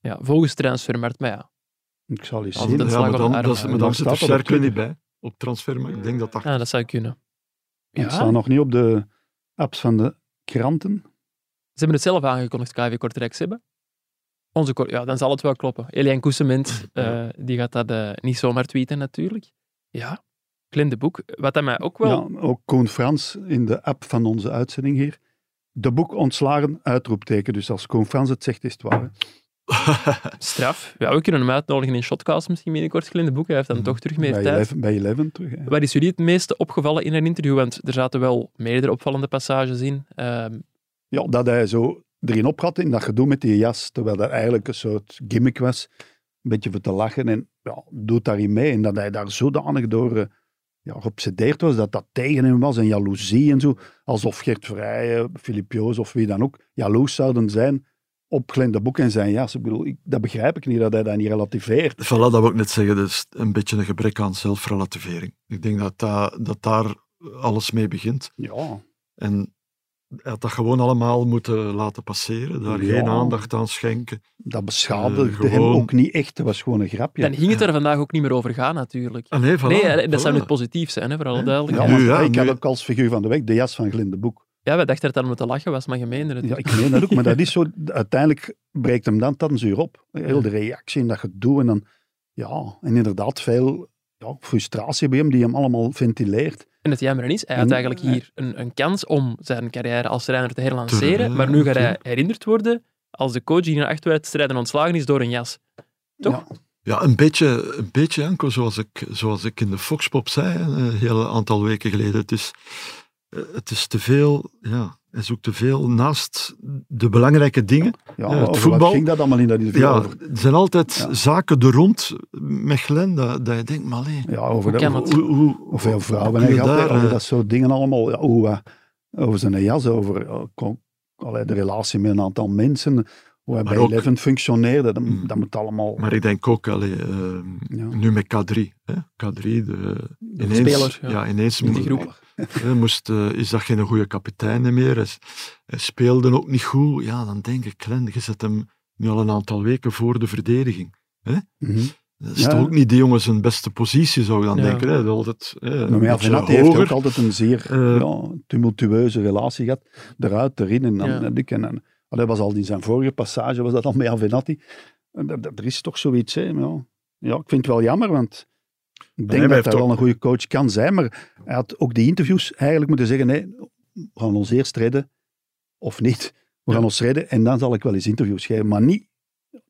Ja, volgens transfermarkt. Maar ja, Ik zal eens Als zien. het een ja, slag maar op de dan, arm, dat is- hè. maar Dan dan zit er staat dat op cirkelen niet Twitter. bij. Op transfermarkt, ik denk dat [LAUGHS] achter. ja Ah, dat zou kunnen. Het Ja. staat nog niet op de apps van de kranten. Ze hebben het zelf aangekondigd, KV Kortrijk. Ze hebben. Onze Kor- ja, dan zal het wel kloppen. Elian Koesement, eh, die gaat dat eh, niet zomaar tweeten natuurlijk. Ja, Glenn de Boek. Wat dat mij ook wel... Ja, ook Koen Frans in de app van onze uitzending hier. De boek ontslagen, uitroepteken. Dus als Koen Frans het zegt, is het waar. hè. Straf. Ja, we kunnen hem uitnodigen in Shotcast misschien binnenkort. Glenn de Boek, hij heeft Mhm. dan toch terug meer Bij tijd. Eleven, bij Eleven terug. hè. Waar is jullie het meeste opgevallen in een interview? Want er zaten wel meerdere opvallende passages in. Ehm, Ja, dat hij zo erin op had in dat gedoe met die jas, terwijl dat eigenlijk een soort gimmick was. Een beetje voor te lachen en ja, doet daarin mee. En dat hij daar zodanig door eh, ja, geobsedeerd was, dat dat tegen hem was en jaloezie en zo. Alsof Gert Vrijen, Filip Joos of wie dan ook jaloers zouden zijn op Glenn de Boek en zijn jas. Ik bedoel, ik, dat begrijp ik niet, dat hij dat niet relativeert. Voilà, dat wil ik net zeggen. Dat is een beetje een gebrek aan zelfrelativering. Ik denk dat, da- dat daar alles mee begint. Ja, En hij had dat gewoon allemaal moeten laten passeren. Daar Ja. geen aandacht aan schenken. dat Eh, beschadigde hem gewoon- ook niet echt. Dat was gewoon een grapje. Dan ging het er vandaag ook niet meer over gaan natuurlijk. Ah, nee, voilà, nee, dat zou voilà. niet positief zijn, hè, voor alle Ja. ja, duidelijkheid. want, Nu, ja, eh, ik nu- had ook als figuur van de week de jas van Glenn de Boek. Ja, wij dachten dat het om te lachen was, maar je meende het. Ja, ik meen dat ook, maar dat is zo. Uiteindelijk breekt hem dan een zuur op. Heel de reactie en dat gedoe. En dan, ja, en inderdaad veel ja, frustratie bij hem, die hem allemaal ventileert. En het jammer is, hij had Mm. En- eigenlijk hier een, een kans om zijn carrière als trainer te herlanceren, Te- maar nu gaat hij herinnerd worden als de coach die in een achtwedstrijden ontslagen is door een jas. Toch? Ja, Ja, een beetje, een beetje Janko, zoals ik, zoals ik in de Foxpop zei een heel aantal weken geleden. Het is, eh, het is te veel, ja, hij zoekt te veel naast de belangrijke dingen. ja, het over voetbal- wat ging dat allemaal in dat interview? Ja, Over, er zijn altijd Ja. zaken er rond met Glenn, dat, dat je denkt, maar alleen, ja, over Hoe de, kan het? hoe, hoe, hoeveel hoe vrouwen kun hij je gaat, hè, daar, over eh, dat soort dingen allemaal. Ja, hoe, eh, over zijn jas, over eh, kon- allee, de relatie met een aantal mensen, hoe hij Maar bij ook- Eleven functioneerde, dat, Mm. dat moet allemaal... Maar ik denk ook, allee, eh, ja, nu met K3. Hè? K3, de, ineens, speler, ja. Ja, ineens In die mo- groep. hè, moest, eh, is dat geen goede kapitein meer. Hij, s- hij speelde ook niet goed. Ja, dan denk ik, Glenn, je zet hem nu al een aantal weken voor de verdediging. Mhm. Dat is Ja. toch ook niet die jongen zijn beste positie, zou je dan Ja. denken. Hè? Dat is Altijd, hè, een Maar ja, beetje Venati heeft ook hoger. altijd een zeer Eh, ja, tumultueuze relatie gehad. Eruit, erin en dan Ja. en dik en, en- maar dat was al in zijn vorige passage, was dat al met Avenatti. En dat- dat- Er is toch zoiets, hè. Ja. ja, ik vind het wel jammer, want ik hij denk dat heeft hij ook- wel een goede coach kan zijn, maar hij had ook die interviews eigenlijk moeten zeggen, nee, we gaan ons eerst redden, of niet. We gaan ons redden en dan zal ik wel eens interviews geven, maar niet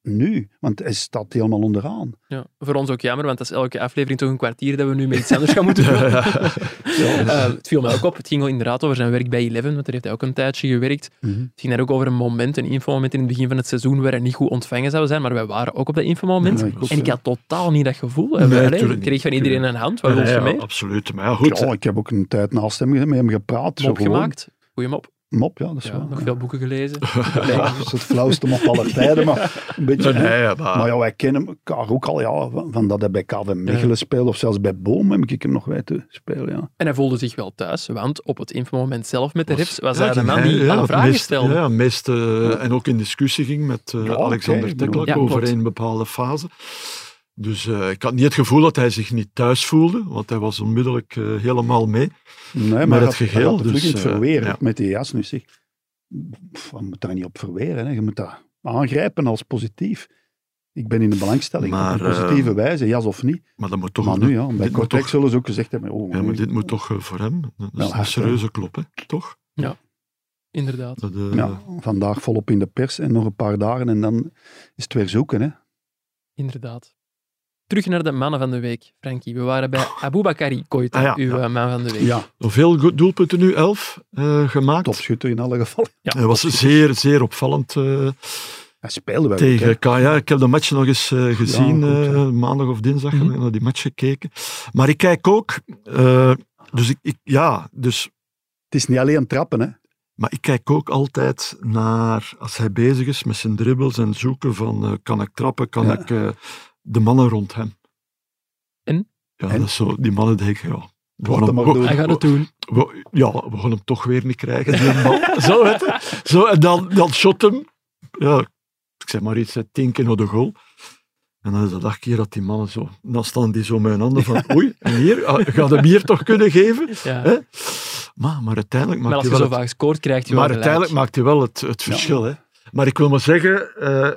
nu, want hij staat helemaal onderaan. Ja. Voor ons ook jammer, want dat is elke aflevering toch een kwartier dat we nu met iets anders gaan [LAUGHS] moeten doen. Eh, het viel mij ook op. Het ging ook inderdaad over zijn werk bij Eleven, want daar heeft hij ook een tijdje gewerkt. Het ging daar ook over een moment, een infomoment in het begin van het seizoen, waar hij niet goed ontvangen zou zijn, maar wij waren ook op dat infomoment. Ja, ik ook, en ik ja. had totaal niet dat gevoel. Nee, Allee, tuurlijk ik niet. kreeg van iedereen een hand, wat Ja, wil je ja, meer? absoluut. Maar ja, goed. Ja, ik heb ook een tijd naast hem met hem gepraat. zo Mop gewoon. gemaakt. Goeie mop. Mop, ja, dat is Ja, waar. nog ja. veel boeken gelezen. [LAUGHS] Nee, dat is het flauwste mop aller tijden, maar een beetje... Nee, ja, maar- Maar ja, wij kennen elkaar ook al, ja, van van dat hij bij KV Mechelen speelde, of zelfs bij Boom heb ik hem nog weten spelen, ja. En hij voelde zich wel thuis, want op het infomoment zelf met de rips was Ja, hij de ging man hij- die ja, alle het vragen meest- stelde. Ja, het meest, eh, en ook in discussie ging met eh, Ja, oké, Alexander ik bedoel- Teklak Ja, over klopt. een bepaalde fase. Dus eh, ik had niet het gevoel dat hij zich niet thuis voelde, want hij was onmiddellijk eh, helemaal mee. Nee, maar, het hij had- geheel, hij had de vlug dus, in het eh, verweren ja. met die jas nu, zeg. Pff, je moet daar niet op verweren, hè. je moet dat aangrijpen als positief. Ik ben in de belangstelling, Maar, op een positieve wijze, jas of niet. Maar dat moet toch... maar nu, ja, bij dit moet Kortrijk toch- zullen ze ook gezegd hebben, oh, ja, maar nu- dit moet toch eh, voor hem een, Wel een hard, serieuze klop, hè? toch? Inderdaad. Dat, eh, ja, vandaag volop in de pers en nog een paar dagen en dan is het weer zoeken, hè. Inderdaad. Terug naar de mannen van de week, Frankie. We waren bij Aboubakari Koita, Ah, ja, uw ja. eh, man van de week. Ja, nog Veel goed doelpunten nu, elf eh, gemaakt. topschutter in alle gevallen. Ja, Hij was zeer, zeer opvallend eh, Hij speelde wel goed, hè. tegen Kaya. Ik heb de match nog eens eh, gezien, goed, eh, ja. maandag of dinsdag Mhm. heb ik naar die match gekeken. Maar ik kijk ook, eh, dus ik, ik, ja, dus, Het is niet alleen trappen, hè. maar ik kijk ook altijd naar, als hij bezig is met zijn dribbles en zoeken van, eh, kan ik trappen, kan Ja. ik eh, de mannen rond hem. En? Ja, En? dat is zo, die mannen denken, ja. we gaan Laat hem hem- maar we- doen. Hij gaat we- het doen. we- ja, we gaan hem toch weer niet krijgen. die bal. [LAUGHS] zo, weet je. zo, en dan, dan shot hem. Ja, ik zeg maar iets, hè, tien keer naar de goal. En dan is dat acht keer dat die mannen zo... Dan staan die zo met hun [LAUGHS] handen van... Oei, en hier? Ah, Gaat hem hier toch kunnen geven? Ja. Hè? Maar, maar uiteindelijk Maar maakt als hij je wel... zo Het, vaak scoort, krijgt je maar wel uiteindelijk gelijk. maakt hij wel het, het verschil. Hè? Maar ik wil maar zeggen... eh,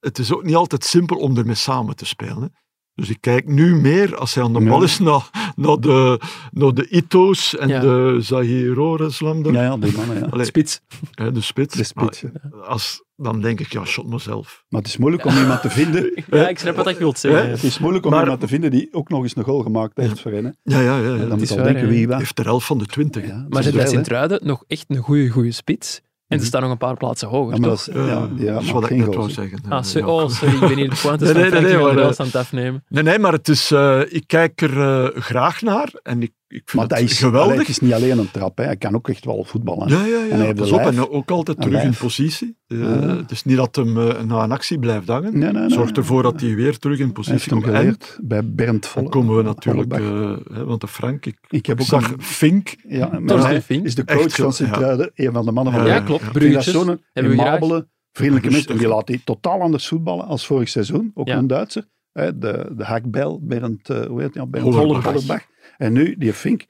het is ook niet altijd simpel om ermee samen te spelen. Hè? Dus ik kijk nu meer, als hij aan de Ja. bal is, naar, naar, de, naar de Ito's en Ja. de Zahiroreslam. Ja, ja, die mannen, ja. [LAUGHS] Allee, Spits. hè, de spits. De spits, ja. Maar als, dan denk ik, ja, shot Eh, mezelf. Maar het is moeilijk om iemand te [LAUGHS] vinden. Ja, ik snap wat ik wil Hè? Het zeggen. is moeilijk om Maar- iemand te vinden die ook nog eens een goal gemaakt heeft voor hen. hè. Ja, ja, ja. ja. En dan is moet je al waar, denken hè. wie Hij wat. heeft er 11 van de 20. Ja, Maar zit dat bij is wel, hè. Sint-Truiden nog echt een goede, goede spits. En ze Mhm. staan nog een paar plaatsen hoger, Ja, maar dat toch? is, ja, Eh, die dat is maakt wat ik geen net goals, wou hè. Ah, zeggen. Ja, sorry. ja. oh, sorry, ik ben hier de pointes van Nee, nee, nee, Frankie nee, van der maar, Wel eh, aan het afnemen. Nee, nee, maar het is, eh, ik kijk er eh, graag naar en ik, ik vind Maar dat het is, geweldig. allee, het is niet alleen een trap, hè. hij kan ook echt wel voetballen. hè. ja, ja, ja. En hij heeft Pas een op, lijf. en ook altijd Een terug in lijf. positie. Eh, Ja. Het is niet dat hem eh, na een actie blijft hangen. Nee, nee, nee. Zorg ervoor dat hij weer terug in Hij heeft positie hem komt. En geleerd bij Bernd Volle. dan komen we natuurlijk, Vollebach. eh, hè, want de Frank, ik, ik heb ik ook zag een- Fink. ja, maar Torsten hij Fink. is de Echt coach goed, van ja. Sint-Truiden, een van de mannen van de Ja, Ja, week. ja, klopt. ja. Ik vind dat Bruutjes. zo'n Hebben we graag. immabele, [LAUGHS] vriendelijke mensen. Die Rustig. laat die totaal anders voetballen als vorig seizoen. Ook Ja. een Duitser. Hè, de, de hakbel, Bernd, eh, hoe heet die? nou? Bernd Hollerbach. Hollerbach. En nu, die Fink,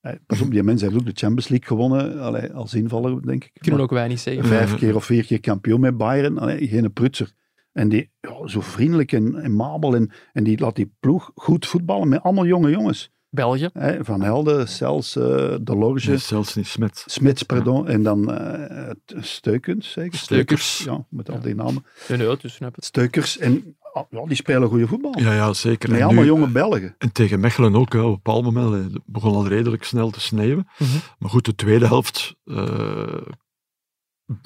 Hey, Pas op, die mensen hebben ook de Champions League gewonnen allee, als invaller, denk ik. Kunnen we ook wij niet zeggen. Maar Vijf keer of vier keer kampioen met Bayern, allee, geen prutser. En die ja, zo vriendelijk en, en mabel en, en die laat die ploeg goed voetballen met allemaal jonge jongens. België. Hey, Van Helden, Cels, eh De Lorge, zelfs niet smet. Smits, pardon, en dan eh, het- Steukens, zeker? Steukers. Ja, met al die namen. Nee, nee, dus snap het. Steukers, en ah, ja, die spelen goede voetbal. Ja, ja, zeker. met En allemaal nu- jonge Belgen. En tegen Mechelen ook, hè, op een bepaald moment hè, het begon al redelijk snel te sneeuwen. Mhm. Maar goed, de tweede helft, eh,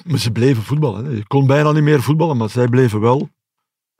maar ze bleven voetballen. Hè. Je kon bijna niet meer voetballen, maar zij bleven wel.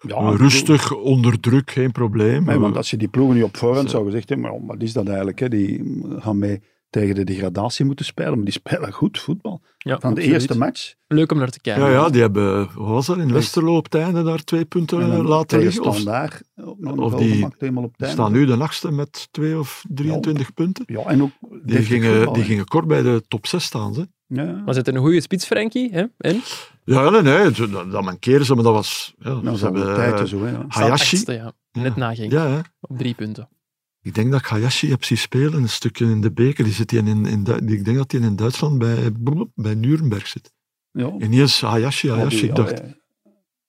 Ja, Eh, rustig, onder druk, geen probleem. Ah, Nee, want Eh, als je die ploegen nu op voorhand Zo. zou gezegd hebben, maar wat is dat eigenlijk? Hè? Die gaan mee tegen de degradatie moeten spelen, maar die spelen goed voetbal. Ja, Van de absoluut. eerste match. Leuk om naar te kijken. ja, ja, die hebben, wat was dat, in Westerlo op het einde daar twee punten en dan eh, laten tegen liggen. Of Standaard, ook nog een of goal die gemaakt, helemaal op tijd. staan nu de achtste met twee of 23 Nou, punten. Ja, en ook Die deftig gingen, voetbal, die hè. gingen kort bij de top 6 staan. Ze. Ja. Maar zit een goede spits, Frankie? Hè? En? Ja, nee, nee, ze- dat, dat mankeren ze, maar dat was... Ja, Nou, ze ze hebben hebben, tijd en eh, zo. Hè, ja. Staat Hayashi. achtste, ja. Net na ging. Ja, hè. Op drie punten. Ik denk dat ik Hayashi heb zien spelen, een stukje in de beker. Die zit hier in, in, Du- die- ik denk dat hij in Duitsland bij, bij Nuremberg zit. Ja. Ineens Hayashi, Maar Hayashi. die, Ik dacht, allee,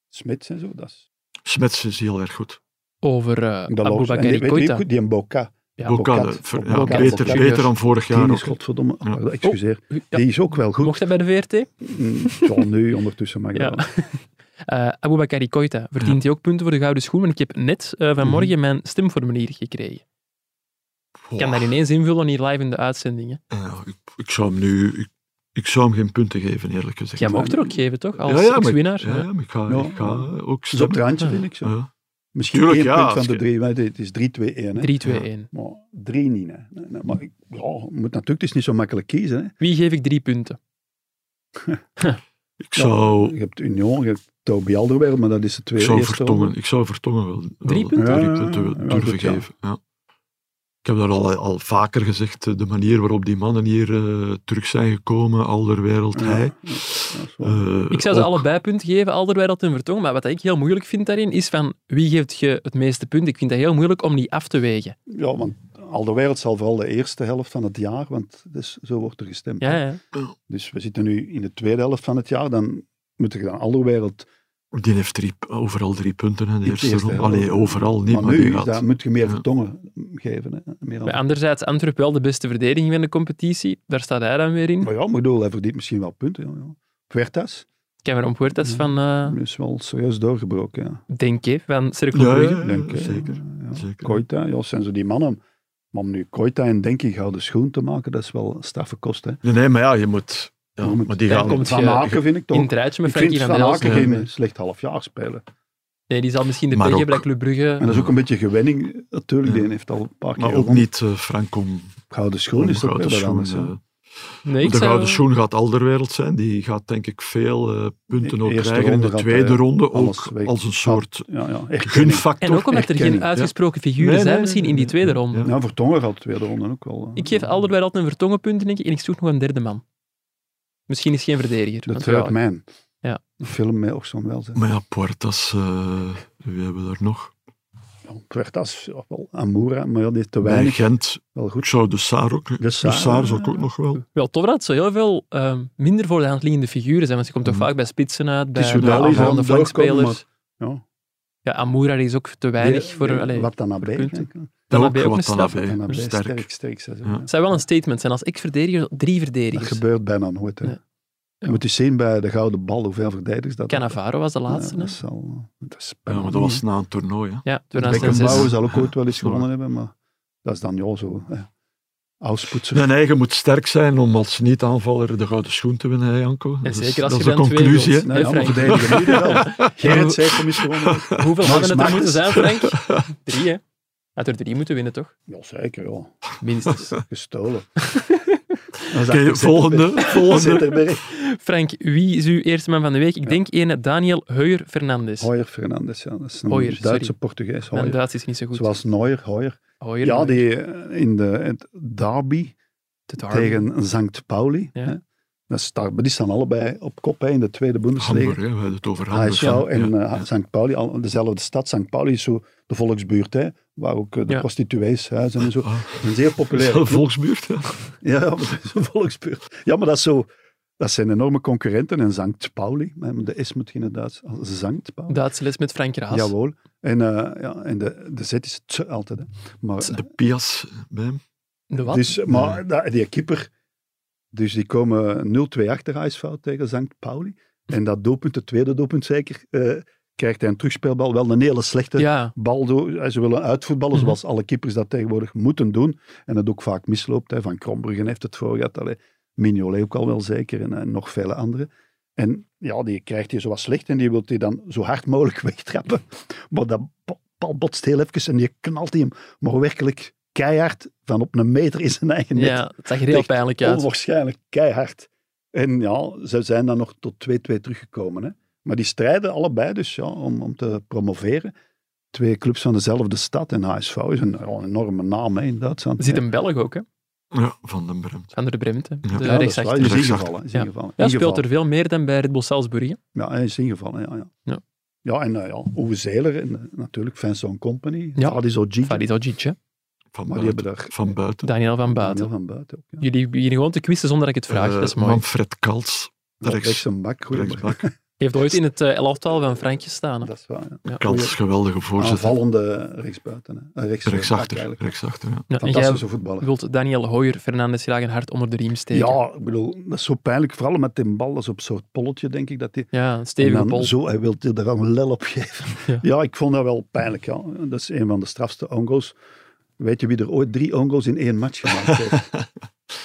Smits en zo, dat is... Smets is heel erg goed. Over eh Dat loopt. En Aboubakari die, weet je Koita. wie ook- die een Boca. Ja, Boca, Bocat. de- ver- Bocat. ja, Bocat. beter, Bocat. beter dan vorig Ja, jaar. is Ook. godverdomme. Ja. ah, Excuseer. Oh, Ja, Die is ook wel goed. Mocht dat bij de VRT? Mm, Zal nu ondertussen, maar Ja. ja. Eh Aboubakari Koita verdient hij ook punten voor de gouden schoen? Want ik heb net eh, vanmorgen Mhm. mijn stemformulier gekregen. Ik kan dat ineens invullen hier live in de uitzending. Hè. Eh, Ja, ik, ik zou hem nu... Ik, ik zou hem geen punten geven, eerlijk gezegd. Jij mocht er ook geven, toch? Als Ja, ja, maar- ex-winnaar. Ja, Ja. ja, maar ik ga, Ja. ik ga ook Dus op het stemmen. randje, vind ik zo. Ja. Misschien Tuurlijk, één ja, punt van als de je- drie. want Het is 3-2-1. hè. 3-2-1. Maar drie niet. Hè. Nee, nee, Maar ik, ja, je moet natuurlijk, het is niet zo makkelijk kiezen. Hè. Wie geef ik drie punten? Ik zou... Je hebt Union, je hebt Toby Alderweireld, maar dat is de Ik tweede zou, eerste vertongen, ronde. ik zou vertongen wel, wel Drie punten? Ja, punten ja, ja, durven goed, ja. geven. Ja. Ik heb daar al, al vaker gezegd, eh, de manier waarop die mannen hier eh, terug zijn gekomen, Alderwereld, Ja, hij. ja, dat is waar. eh, Ik zou ze ook- allebei punten geven, Alderweireld en Vertongen. Maar wat ik heel moeilijk vind daarin, is van wie geeft je het meeste punt? Ik vind dat heel moeilijk om die af te wegen. Ja, want Alderweireld zal vooral de eerste helft van het jaar, want dus, zo wordt er gestemd. Ja, ja. Dus we zitten nu in de tweede helft van het jaar, dan moet je dan Alderweireld... Die heeft drie, overal drie punten in de de eerste eerste ronde. helft. Allee, overal niet, maar, maar nu die is gaat... dat, moet je meer Ja. vertongen geven. Hè. Meer dan- Maar anderzijds, Antwerp wel de beste verdediging van de competitie. Daar staat hij dan weer in. Maar ja, ik bedoel, hij verdient misschien wel punten. Ja, ja. Puertas Cameron Puertas Ja. van, eh is wel serieus doorgebroken. Ja. denk ik, van Cirkel Ja, Brugge. ja, denk ik. zeker. Ja. zeker. Koita, ja, zijn zo die mannen. Maar om nu Koita en denk ik gouden schoen te maken, dat is wel straffe kost. Hè. Nee, nee, maar ja, je moet... Ja, Je moet- maar die Daar gaan... komt Van je- Aken vind ik toch. In het rijtje met ik vind Frankie van Van Aken Delsen. Elsen. geen slecht half jaar spelen. Nee, die zal misschien de Maar pech hebben ook- dat Club Brugge... En dat is ook een beetje gewenning. Natuurlijk, Ja. die heeft al een paar keer Maar ook gewonnen. niet eh, frank om, Gouden schoen om is toch wel gouden wat schoen. anders. hè. eh, Nee, ik de zou- gouden schoen gaat Alderwereld zijn. Die gaat denk ik veel eh, punten De ook E-, eerste krijgen in ronde de gaat tweede hij ronde. alles Ook weg. als een soort Ja, ja. Erkenning. En gunfactor. ook omdat er geen Erkenning, uitgesproken figuren Nee, zijn, nee, misschien nee, in die nee, tweede nee, ronde. ja. Ja, Nou, Vertongen gaat de tweede ronde ook wel. hè. Ik geef Alderweireld en Vertongen punten, denk ik, en ik zoek nog een derde man. Misschien is geen verdediger. De want Third ja, Man. Ja. Een film met Orson Welles. hè. Maar ja, Puertas, eh, wie hebben we daar nog? Ja, Puertas, ja, wel Amora, maar ja, die is te Bij weinig. Gent. Wel Ik goed. zou de Saar ook... De De Saar, eh, Saar, zou ik ook nog wel... Wel tof dat het zo heel veel ehm, minder voor de hand liggende figuren zijn, want je komt toch Mm. vaak bij spitsen uit, bij is wel bij eens aanvallende aan flankspelers. Ja. Ja, Amoura die is ook te weinig Die- voor... die- allee, Wat dan AB. punten. denk ik. Dan ook ben je ook wat een dan straffer. erbij. Dan AB, Sterk. Sterk, sterk. sterk Ja. ja. het zou wel een statement zijn als ex-verdediger drie Dat verdedigers. gebeurt bijna nooit. Hè. Nee. Je moet eens zien bij de gouden bal hoeveel verdedigers dat Cannavaro was de laatste. Ja, dat, hè? is al, dat is Ja, bijna maar dat niet, was hè. na een toernooi. Hè. Ja, Beckenbauer 2006. zal ook ooit wel eens Ja. gewonnen hebben, maar dat is dan ja zo. hè. Auspoetser. Mijn eigen moet sterk zijn om als niet-aanvaller de gouden schoen te winnen, hè, Janko. En Dat is- zeker als dat je is de dan twee conclusie. wilt. hè. Nee, Hè, allemaal Frank? verdedigen nu wel. Gerrit zei hem is gewonnen. Hoeveel Max hadden het er Martens. moeten [LAUGHS] zijn, Frank? Drie, hè? Hij had er drie moeten winnen, toch? Ja, zeker. Ja. Minstens. [LAUGHS] [LAUGHS] Gestolen. [LAUGHS] Oké, volgende. volgende. Zetterberg. Frank, wie is uw eerste man van de week? Ik denk ene Daniel Heuer Fernandes. Hoyer Fernandes. Ja, dat is een Hoyer, Duitse sorry. Portugees. Mijn Hoyer. Duits is niet zo goed. Zoals Neuer, Hoyer. Heuer, Ja, Heuer, die eh, in de, het derby de Darby. tegen Sankt Pauli. Ja. hè. Dat is daar, maar die staan allebei op kop hè, in de tweede Hamburg, Bundesliga. hè, we hadden het over Hamburg. HSV Ah, en Ja, eh, St. Pauli, al- dezelfde stad. St. Pauli is zo de volksbuurt, hè, waar ook eh, de Ja. prostituees huizen en zo. Ah. Een zeer populair. [LAUGHS] ja. Volksbuurt. Ja. Ja, ja, maar dat is een volksbuurt. Ja, maar dat, is zo, dat zijn enorme concurrenten. En Sankt Pauli, hè, de S moet geen Duits, als Sankt Pauli. Duitse les met Frank Raas. Jawohl. En, eh, ja, en de, de Z is t altijd. Hè. Maar, De Pias bij hem. De wat? dus, maar da- die keeper, dus die komen 0-2 achter HSV tegen Sankt Pauli. En dat doelpunt, het tweede doelpunt zeker, eh, krijgt hij een terugspeelbal. Wel een hele slechte ja, bal. door- eh, Ze willen uitvoetballen Mhm. zoals alle keepers dat tegenwoordig moeten doen. En dat ook vaak misloopt. Hè. Van Krombruggen heeft het voor gehad. Allee, Mignolet ook al wel zeker. En, eh, nog vele anderen. En ja, die krijgt hij zo wat slecht. En die wil hij dan zo hard mogelijk [LAUGHS] wegtrappen. Maar dat bo- bal botst heel even. En die knalt hij hem. Maar werkelijk keihard van op een meter in zijn eigen net. ja, het zag er heel Echt pijnlijk uit. Onwaarschijnlijk keihard. En ja, ze zijn dan nog tot 2-2 teruggekomen. Hè. Maar die strijden allebei dus ja, om, om te promoveren. Twee clubs van dezelfde stad. En HSV is een, ja, een enorme naam hè, in Duitsland. Er zit een Belg ook, hè? Ja, van den Bremt. Van der Bremt, hè? Dus Ja, de ja, dat is waar, rechtsachter. die is Rechtsachter. ingevallen. is Ja. ingevallen. Ja, Ingevallen. speelt er veel meer dan bij Red Bull Salzburg. hè? Ja, hij is ingevallen, ja. Ja, Ja. ja. en eh, ja, Uwe Zeeler en eh, natuurlijk Vincent Company. Ja. Ja. Fadi Zogi. Farid Aljic, hè? Van Maar die hebben buiten. daar Van buiten. Daniel van Baten. Daniel van buiten ook. Ja. Jullie beginnen gewoon te quizzen zonder dat ik het vraag. Eh, dat is mooi. Manfred Kals. Maar Rechts Rechts, een bak. goeie maar- rechtsbak. Heeft ooit in het eh, elftal van Frank gestaan. hè? Dat is waar, ja. Kals, geweldige voorzitter. Aanvallende rechtsbuiten. Hè. Eh, Rechts, eh, bak Rechtsachter. eigenlijk. Rechtsachter, ja. Ja, en jij Fantastische voetballer. wilt Daniel Hoyer Fernandes graag een hart onder de riem steken. Ja, ik bedoel, dat is zo pijnlijk. Vooral met die bal, dat is op zo'n polletje, denk ik. Dat die, Ja, een en stevige dan bol. zo, hij wil er dan een lel op geven. [LAUGHS] Ja. Ja. ik vond dat wel pijnlijk. Ja. Dat is een van de strafste ongoals. Weet je wie er ooit drie ongoals in één match gemaakt [LAUGHS] heeft?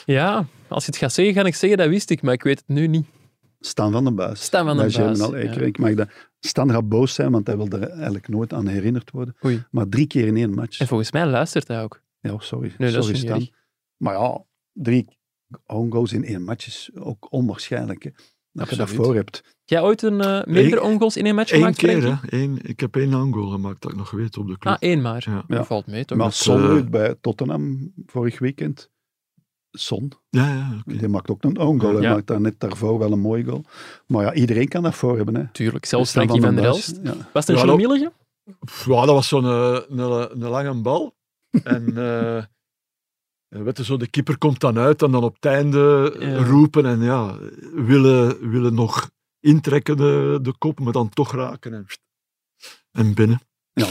Ja, als je het gaat zeggen, ga ik zeggen dat wist ik, maar ik weet het nu niet. Stan van den Buis. Stan van den Bij Buis, Germinal Eker. ja. Ik mag dat... Stan gaat boos zijn, want hij wil er eigenlijk nooit aan herinnerd worden. Oei. Maar drie keer in één match. En volgens mij luistert hij ook. Ja, sorry. Nee, dat is sorry, niet Stan. erg. Maar ja, drie ongoals in één match is ook onwaarschijnlijk. Hè. Dat je dat Absoluut. voor hebt. Jij ooit een eh minder ongoals in een match Eén gemaakt, keer, Frankie? hè. Eén, ik heb één aangoal gemaakt, dat ik nog weet, op de club. Ah, één maar. Ja. Ja. Dat valt mee, toch? Maar met, Son eh, doet bij Tottenham vorig weekend. Son, Ja, ja, oké. die maakt ook een own goal. Hij Ja. maakt daar net daarvoor wel een mooi goal. Maar ja, iedereen kan dat voor hebben. Hè. Tuurlijk, zelfs Stan Frankie van der Buis, Elst. Ja. Was het een Ja, ja, dat- Pff, Ja, dat was zo'n eh, een, een, lange [LAUGHS] bal. En eh weet je, zo, de keeper komt dan uit en dan op het einde eh, Ja. roepen en ja, willen, willen nog intrekken eh, de, de kop, maar dan toch raken en, pst, en binnen. ja,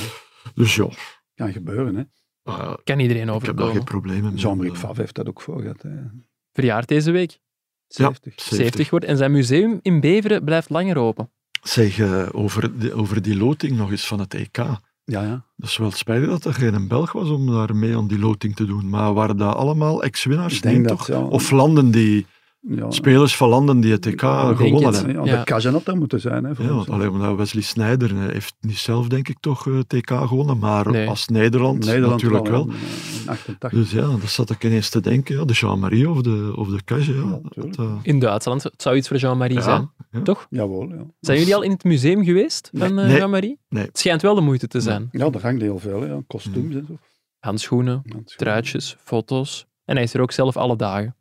Dus ja, kan gebeuren. Hè. eh, Kan iedereen ik heb daar geen overkomen. problemen eh, mee. Jean-Marie Favre heeft dat ook voor gehad. Hè. Verjaard deze week. 70. 70 wordt. En zijn museum in Beveren blijft langer open. Zeg, eh, over, die, over die loting nog eens van het EK. Ja, ja. Dat is wel spijtig dat er geen Belg was om daar mee aan die loting te doen. Maar waren dat allemaal ex-winnaars? Ik denk Nee, dat, eh, toch? ja. Of landen die, ja. spelers van landen die het EK denk gewonnen het, hebben? Ja, Ja. Dat kan Jeannot daar moeten zijn. Hè, voor Ja, ons, want hè. alleen omdat Wesley Sneijder eh, heeft niet zelf, denk ik, toch eh, TK gewonnen, maar Nee. als Nederland, Nederland natuurlijk wel. hè, in 88. Dus ja, dat zat ik ineens te denken, ja, de Jean-Marie of de, of de Kaj, ja. natuurlijk. dat, eh, In Duitsland. Het zou iets voor Jean-Marie ja. zijn. Jawel, ja. Zijn jullie al in het museum geweest van eh, Nee. Jean-Marie? Nee. Het schijnt wel de moeite te zijn. Ja, daar hangt heel veel. hè, Ja. Kostuums Mm. en zo. Handschoenen, Ja, het is goed. truitjes, foto's. En hij is er ook zelf alle dagen.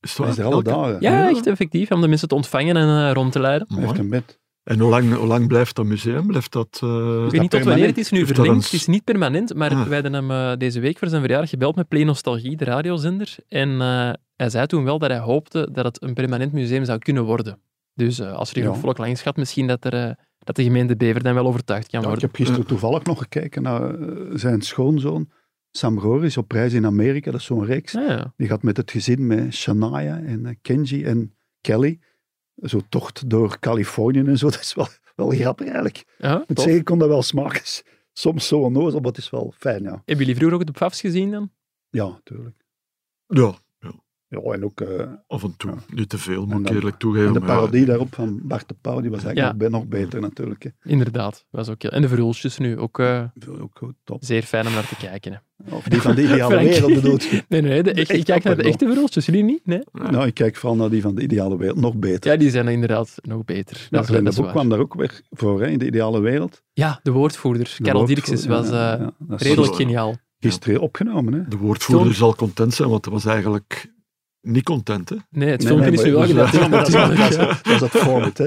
Is het Hij waar? is er alle Elke- dagen. Ja, Ja. echt effectief. Om de mensen te ontvangen en eh, rond te leiden. Hij Mooi. heeft een bed. En hoe lang, hoe lang blijft dat museum? Blijft dat... eh, Ik weet niet tot wanneer het is nu Heeft dat verlinkt. een Het s- is niet permanent, maar Ah. wij hebben hem eh, deze week voor zijn verjaardag gebeld met Play Nostalgie, de radiozender. En eh, hij zei toen wel dat hij hoopte dat het een permanent museum zou kunnen worden. Dus eh, als er genoeg Ja. volk langs gaat, misschien dat, er, eh, dat de gemeente Bever dan wel overtuigd kan Ja, ik worden. heb gisteren toevallig nog gekeken naar eh, zijn schoonzoon. Sam Roor is op reis in Amerika, dat is zo'n reeks. Ah, ja. Die gaat met het gezin, met Shania en eh, Kenji en Kelly, zo'n tocht door Californië en zo. [LAUGHS] Dat is wel, wel grappig eigenlijk. Ik Ja, moet tof. zeggen, ik kon dat wel smaken. Soms zo onnozel, maar het is wel fijn, ja. Hebben jullie vroeger ook de Pfafs gezien dan? Ja, tuurlijk. Ja, Ja, en ook eh, af en toe. Niet te veel, En moet ik dan- eerlijk toegeven. en de maar eh, ja, parodie daarop van Bart de Pauw, die was eigenlijk Ja. nog, be- nog beter natuurlijk. Hè. Inderdaad, was ook heel... En de verhulsjes nu, ook eh, Ook goed, top. zeer fijn om naar te kijken. Hè. Of die [LAUGHS] van de ideale Frankie. wereld bedoelt. [LAUGHS] je? Nee, nee, de, echt, Echt ik kijk naar de grappig, echte verhulsjes, jullie niet? Nee? Nou, ik kijk vooral naar die van de ideale wereld, nog beter. Ja, die zijn inderdaad nog beter. Ja, Dat, is- dat de is boek waar. kwam daar ook weer voor, hè, in de ideale wereld. Ja, de woordvoerder, De Karel woord- Dirkses, was eh, ja, ja, dat is redelijk Sorry. geniaal. gisteren opgenomen. Hè. De woordvoerder Toen- zal content zijn, want dat was eigenlijk niet content, hè. Nee, het Nee, filmpje nee, is nu wel maar- gedaan. [LAUGHS] Ja, maar dat, is, dat, is, Ja. dat is het format, hè.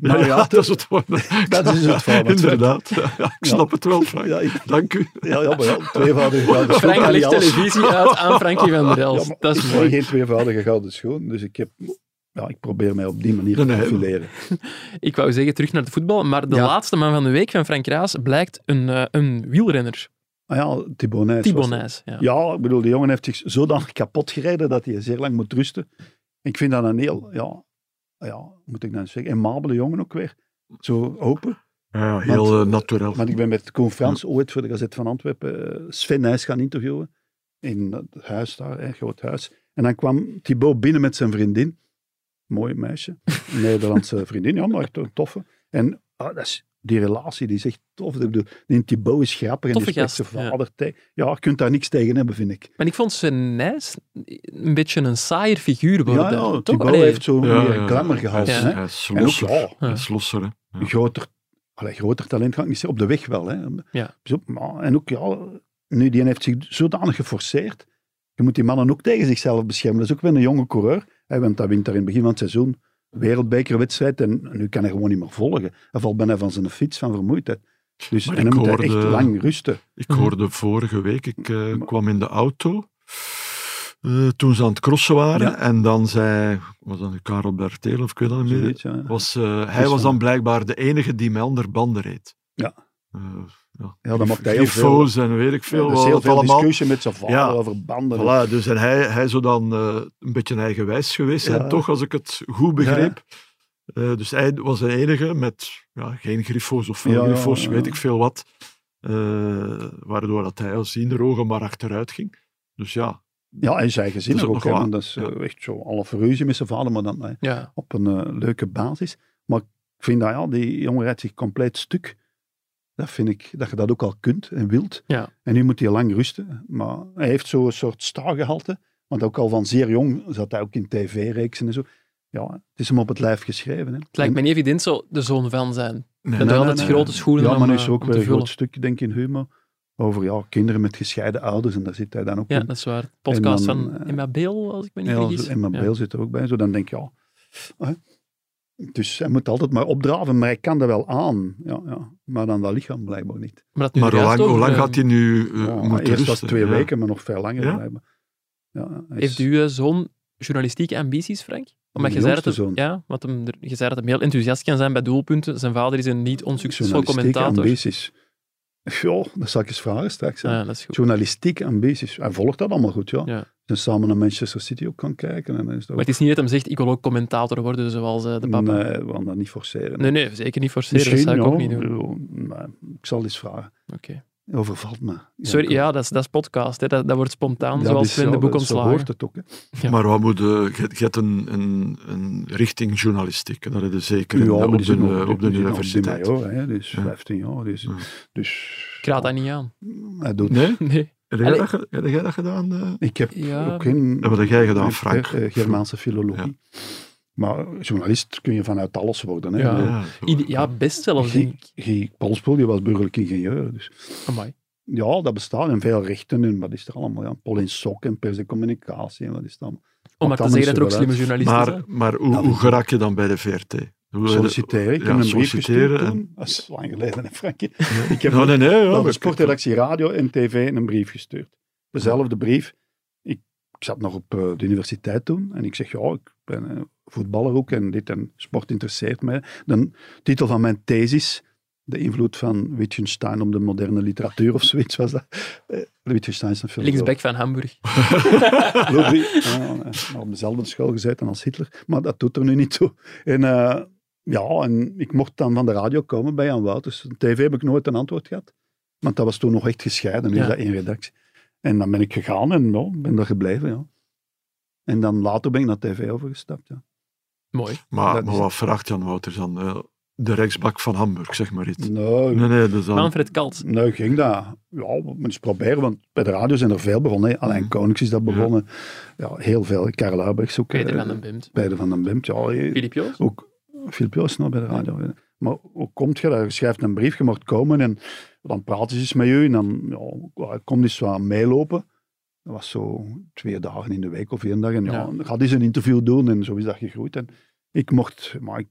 Maar ja, Nou dat is het woord. dat is het format. Inderdaad. Ja, ik snap het wel, Frank. Ja, ik- Dank u. Ja, ja, maar ja, tweevoudige gouden schoen. Frank kan niet legt alles. televisie uit aan Frankie van der Ja, Elst. maar dat ik is ben mooi. geen tweevoudige gouden schoen, dus ik, heb, ja, ik probeer mij op die manier Nee, te nee. profileren. Ik wou zeggen, terug naar het voetbal. Maar de Ja. laatste man van de week van Frank Raas blijkt een, eh, een wielrenner. Ah ja, Thibaut Nys was Thibaut dat. Nys. Ja. Ja, ik bedoel, die jongen heeft zich zodanig kapot gereden dat hij zeer lang moet rusten. Ik vind dat een heel, ja, ja moet ik dan zeggen, emabele jongen ook weer. Zo open. Ja, heel Want- eh, naturel. Want ik ben met Koen Frans ooit voor de Gazet van Antwerpen eh, Sven Nijs gaan interviewen. In het huis daar, hè, groot huis. En dan kwam Thibaut binnen met zijn vriendin. Mooi meisje. Een [LAUGHS] Nederlandse vriendin, ja, maar echt een toffe. En ah, dat is, die relatie, die is echt tof. Ik bedoel, die Thibaut is grappig en Toffe die spreekt zijn gast, ja. vader tegen. Ja, je kunt daar niks tegen hebben, vind ik. Maar ik vond Sven Nys een beetje een saaier figuur worden. ja, ja, toch? Thibaut Allee, heeft zo Ja, meer ja, glamour hij gehouden. is- hè. Hij is En ook, losser. ja, Ja. Hij is losser, hè. Ja. groter, allee, groter talent kan ik niet zeggen, op de weg wel. Hè. Ja. Zo, maar, en ook, ja, nu die heeft zich zodanig geforceerd, je moet die mannen ook tegen zichzelf beschermen. Dat is ook weer een jonge coureur, hè, want dat wint daar in het begin van het seizoen wereldbekerwedstrijd en nu kan hij gewoon niet meer volgen. Hij valt bijna van zijn fiets van vermoeidheid. Dus, Maar eh, en dan ik moet hij echt hoorde- lang rusten. Ik Mhm. hoorde vorige week, ik eh, kwam in de auto eh, toen ze aan het crossen waren. Ja. En dan zei, was dat nu Karel Bertel of ik weet dat niet meer. Zoiets, ja. Was, eh, hij was dan blijkbaar de enige die mij onder banden reed. Ja. Eh, Ja, dan mag hij heel veel, Grifo's en weet ik veel, er eh, veel. is wat heel veel allemaal. discussie met zijn vader Ja. over banden. Voilà, dus en hij, hij zou dan eh, een beetje eigenwijs geweest zijn, Ja. toch, als ik het goed begreep. Eh, dus hij was de enige met ja, geen griffo's of veel Ja, ja, griffo's, ja. weet ik veel wat. eh, waardoor dat hij als rogen maar achteruit ging. Dus ja, Ja, en zijn gezin Dat is ook, ook ook nog hè, waar. want dat is Ja. eh, echt zo, alle ruzie met zijn vader, maar dan... eh, Ja. op een eh, leuke basis. Maar ik vind dat ja, die jongen rijdt zich compleet stuk. Dat vind ik, dat je dat ook al kunt en wilt. Ja. En nu moet hij lang rusten. Maar hij heeft zo'n soort staargehalte. Want ook al van zeer jong zat hij ook in tv-reeksen en zo. Ja, het is hem op het lijf geschreven. Hè. Het lijkt me niet evident zo de zoon van zijn. nee, Dat nee, er nee, altijd nee, grote schoenen Ja, om, maar nu eh, is er ook om weer te een groot vullen. stuk, denk ik, in humor. Over ja, kinderen met gescheiden ouders. En daar zit hij dan ook Ja, in. dat is waar. Podcast En dan, van eh, Emma Beel, als ik me niet Ja, vergis. zo- en mijn Ja. Beel zit er ook bij. Zo, dan denk je, ja. hè. Dus hij moet altijd maar opdraven, maar hij kan er wel aan. Ja, ja. Maar dan dat lichaam blijkbaar niet. Maar, dat nu Maar hoe juist lang, over, hoe lang eh, gaat hij nu eh, Ja, moeten eerst was rusten? het twee Ja. weken, maar nog veel langer Ja? blijkbaar. Ja, hij Heeft is- uw eh, zoon journalistieke ambities, Frank? Omdat je Mijn zei, dat jongste hem, ja, want hem, er- je zei dat hem heel enthousiast kan zijn bij doelpunten. Zijn vader is een niet onsuccesvol journalistieke commentator. ambities. Ja, dat zal ik eens vragen straks. hè. Ja, dat is goed. Journalistieke ambities. Hij volgt dat allemaal goed, ja. Ja. Dus samen naar Manchester City ook kan kijken. En dan is dat Maar het is niet dat hem zegt, ik wil ook commentator worden zoals eh, de ook- papa. Nee, we gaan dat niet forceren. Nee, nee, zeker niet forceren. Dat Misschien, zou ik ja. ook niet doen. Ja, maar ik zal het eens vragen. Oké. Overvalt me. Sorry, ik- ja, dat is, dat is podcast. Hè. Dat, dat wordt spontaan, Dat zoals is we in de zo, boek dat- Zo ontslagen. hoort het ook. hè. Ja. Maar wat moet, eh, je je hebt een, een, een richting journalistiek, hè, dat is dus zeker in de- maar op, die de, zit nog- eh, op de die zit nog universiteit. bij jou, hè, dus Ja. 15 jaar. Dus, Ja. dus Ik raad dat niet [LAUGHS] aan. hij doet. Nee? Nee. Heb jij Allee. dat ge- heb jij dat gedaan? eh? Ik heb Ja. ook geen. Dat heb jij gedaan, eh, Frank. eh, Germaanse filologie. Maar journalist kun je vanuit alles worden. Hè. Ja. Ik bedoel, Ja, zo. Ide- ja, best zelfs, denk ik. Guy Polspoel, die was burgerlijk ingenieur. Dus. Amai. Ja, dat bestaat. En veel rechten. En wat is er allemaal? Ja, Paul in Sok en pers en communicatie. En wat is er allemaal? Om maar te dan zeggen is dat er er ook wel slimme uit. journalisten Maar, zijn. maar hoe, Ja, hoe maar- geraak je dan bij de VRT? Hoe- Nou, Solliciteren. Ik Ja, heb een brief solliciteren gestuurd en- toen. Dat is lang geleden, hè, Frank. Ik heb Ja, Nou, nee, nee. Ja, Van de maar- sportredactie radio en tv een brief gestuurd. Dezelfde brief. Ik, ik zat nog op eh, de universiteit toen en ik zeg, ja, ik ben eh, voetballer ook en dit en sport interesseert mij. De titel van mijn thesis, de invloed van Wittgenstein op de moderne literatuur of zoiets was dat. Eh, Wittgenstein is een film. Linksback van Hamburg. [LAUGHS] Ludwig, eh, op dezelfde school gezeten als Hitler, maar dat doet er nu niet toe. En eh, ja, en ik mocht dan van de radio komen bij Jan Wouters. TV heb ik nooit een antwoord gehad, want dat was toen nog echt gescheiden, nu Ja. is dat één redactie. En dan ben ik gegaan en ja, ben daar gebleven, ja. En dan later ben ik naar tv overgestapt, ja. Mooi. Maar, Dat maar is- wat vraagt Jan Wouters dan? eh, de rechtsbak van Hamburg, zeg maar iets. Nee, Nee, nee, dat is dan... Manfred Kalt. nee Nou, ging dat. Ja, we moeten eens proberen, want bij de radio zijn er veel begonnen. hè. Mhm. Alain Konings is dat begonnen. Ja, heel veel. Karel Huibrechts ook. Peter eh, van den Bimt. Peter van den Bimt, ja. eh, Filip Joos. ook veel Joos nog bij de radio. Maar hoe komt je daar? Je schrijft een brief, je mag komen en dan praten ze eens met je en dan ja, kom eens wat dus meelopen. Dat was zo twee dagen in de week of één dag. En ja, Ja. ga eens een interview doen en zo is dat gegroeid. En ik mocht, maar ik-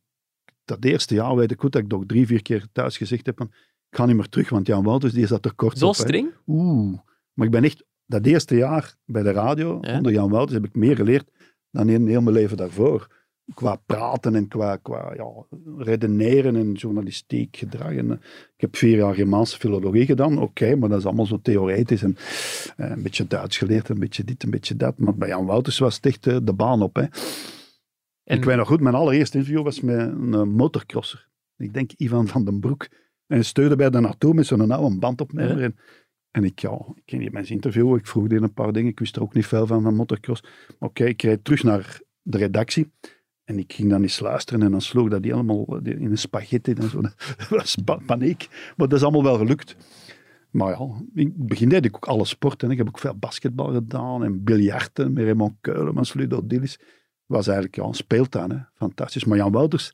dat eerste jaar weet ik goed dat ik nog drie, vier keer thuis gezegd heb van, ik ga niet meer terug, want Jan Wouters die zat er kort Zo op. hè. streng? Oeh. Maar ik ben echt, dat eerste jaar bij de radio, Ja. onder Jan Wouters, heb ik meer geleerd dan in heel mijn leven daarvoor. Qua praten en qua, qua ja, redeneren en journalistiek gedrag. En, eh, ik heb vier jaar Germaanse filologie gedaan, oké, maar dat is allemaal zo theoretisch. En, eh, een beetje Duits geleerd, een beetje dit, een beetje dat. Maar bij Jan Wouters was het echt eh, de baan op. Hè. En- Ik weet nog goed, mijn allereerste interview was met een eh, motorcrosser. Ik denk Ivan van den Broek. En hij steunde bij de naartoe met zo'n oude bandopnemer. En, en ik, ja, ik ging die mensen interviewen. Ik vroeg die een paar dingen. Ik wist er ook niet veel van, van motocross. Maar Oké, ik reed terug naar de redactie. En ik ging dan eens luisteren en dan sloeg dat die allemaal eh, die- in een spaghetti en zo. [LAUGHS] Dat was pa- paniek. Maar dat is allemaal wel gelukt. Maar ja, in het begin deed ik ook alle sporten. hè. Ik heb ook veel basketbal gedaan en biljarten met Raymond Keulemans, Ludo Dillis. was eigenlijk ja, een speeltuin, hè. fantastisch. Maar Jan Wouters,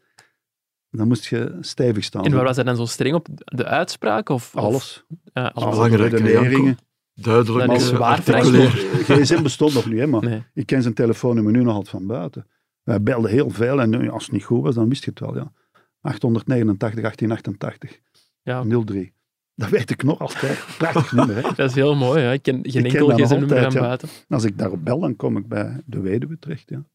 dan moest je stevig staan. En waar was hij dan zo streng op? De uitspraak? Of, of- Alles. Ja, Alle alles. belangrijk, hè, redeneringen. Duidelijk. Dan is het eh, waar, Frank. articuleer. GSM bestond nog niet, hè, maar Nee. ik ken zijn telefoonnummer nu nog altijd van buiten. Wij belden heel veel en nu, als het niet goed was, dan wist je het wel, ja. 889, 1888, Ja. 03. Dat weet ik nog altijd. Prachtig nummer, hè. Dat is heel mooi. Hè? Ik ken geen ken enkel dat gsm nummer altijd, aan ja. buiten. Als ik daarop bel, dan kom ik bij de weduwe terecht, ja.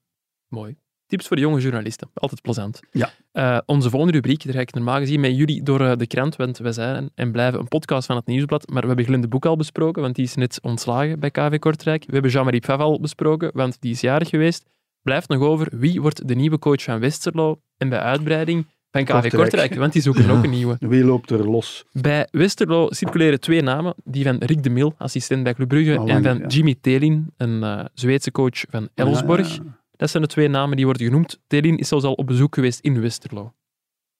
Mooi. Tips voor jonge journalisten. Altijd plezant. Ja. Eh, onze volgende rubriek, daar ga ik normaal gezien met jullie door eh, de krant, want we zijn en blijven een podcast van het Nieuwsblad. Maar we hebben Glinde Boek al besproken, want die is net ontslagen bij KV Kortrijk. We hebben Jean-Marie Pfaff al besproken, want die is jarig geweest. Blijft nog over wie wordt de nieuwe coach van Westerlo en bij uitbreiding van KV Kortrijk, Kortrijk. want die zoeken Ja. ook een nieuwe. Wie loopt er los? Bij Westerlo circuleren twee namen. Die van Rick de Mil, assistent bij Club Brugge, Ah, Al en lang, van ja. Jimmy Telin, een eh, Zweedse coach van Elfsborg. Ja, ja. Dat zijn de twee namen die worden genoemd. Telin is zelfs al op bezoek geweest in Westerlo.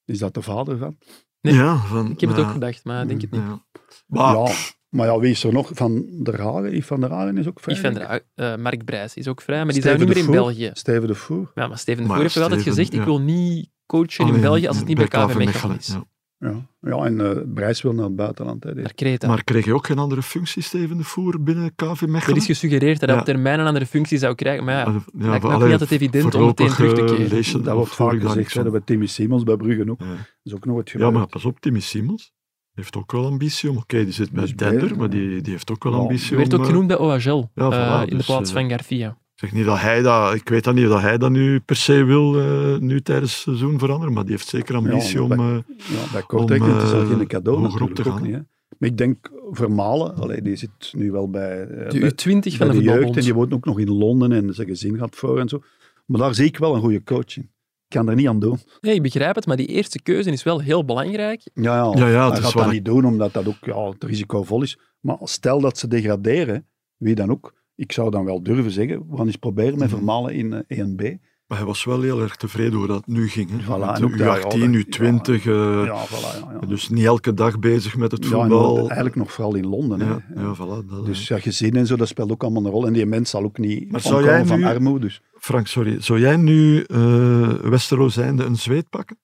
Is dat de vader van? Nee. Ja, van, Ik heb het ja, ook gedacht, maar ik denk het niet. ja. Maar, Ja. Maar ja, wie is er nog? Van der Hagen? Yves van der Hagen is ook vrij. Ik vind denk ik. er, eh, Mark Brijs is ook vrij, maar die Steven zijn nu de meer in Voer. België. Steven de Voer. Ja, maar Steven de Maar Voer heeft wel altijd Steven, gezegd, ik ja. wil niet coachen in alleen België als het niet bij KV KV Mechelen is. ja. Ja, ja en eh Brijs wil naar het buitenland. Hè, die- Naar Kreta. Maar kreeg je ook geen andere functie, Steven de Voer, binnen KV er Mechelen? is gesuggereerd dat hij Ja. Ah, op termijn een andere functie zou krijgen, maar ja, Ja, lijkt me ook allee, niet altijd evident om meteen voorlopig, terug te eh, keren. lees je dat wordt voel vaak ik daar gezegd. niks Hè, dat van. bij Timmy Simons bij Brugge ook. Ja. Dat is ook nog wat Ja, gebeurd. maar pas op, Timmy Simons heeft ook wel ambitie om... Oké, die zit bij Dus Dender, bij- maar die, die heeft ook wel Ja, ambitie werd om... ook eh, genoemd bij OHL, ja, eh, voilà, in de dus, plaats eh, van Garcia. Ik zeg niet dat hij dat... Ik weet dat niet dat hij dat nu per se wil, eh, nu tijdens het seizoen veranderen, maar die heeft zeker ambitie Ja, om... maar- eh, Ja, bij Kortrijk het is dat eh, geen cadeau hoger op natuurlijk te ook gaan. niet. Hè. Maar ik denk Vermalen, allee, die zit nu wel bij, eh, De bij- U20 bij van de de jeugd en voetbalbond. die woont ook nog in Londen en zijn gezin gaat voor en zo. Maar daar zie ik wel een goede coach in. Ik kan er niet aan doen. Nee, ik begrijp het, maar die eerste keuze is wel heel belangrijk. Ja, ja, Ja, ja, het hij is gaat waar. dat niet doen, omdat dat ook ja, het risicovol is. Maar stel dat ze degraderen, wie dan ook, ik zou dan wel durven zeggen, we gaan eens proberen met Mhm. Vermalen in eh, 1B. Maar hij was wel heel erg tevreden hoe dat het nu ging. Hè? Voilà, Met en ook de daar U18, al dat- U20. eh, ja, voilà, ja, ja. Dus niet elke dag bezig met het Ja, en voetbal. eigenlijk nog vooral in Londen. hè. ja, ja, voilà. Dus dat, dus, ja, gezin en zo, dat speelt ook allemaal een rol. En die mens zal ook niet Maar zou omkomen jij van nu- armoede. Dus Frank, sorry. Zou jij nu eh Westerlo zijnde een zweet pakken?